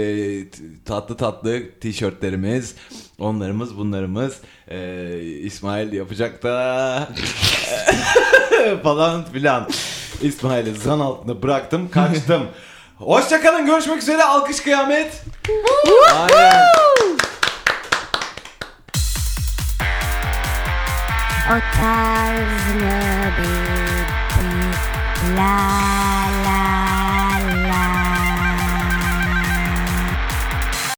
t- tatlı tatlı tişörtlerimiz, onlarımız bunlarımız e, İsmail yapacak da falan filan. İsmail'i zan altında bıraktım kaçtım. Hoşçakalın görüşmek üzere alkış kıyamet. Aynen.
O tarz mı bir bir laf?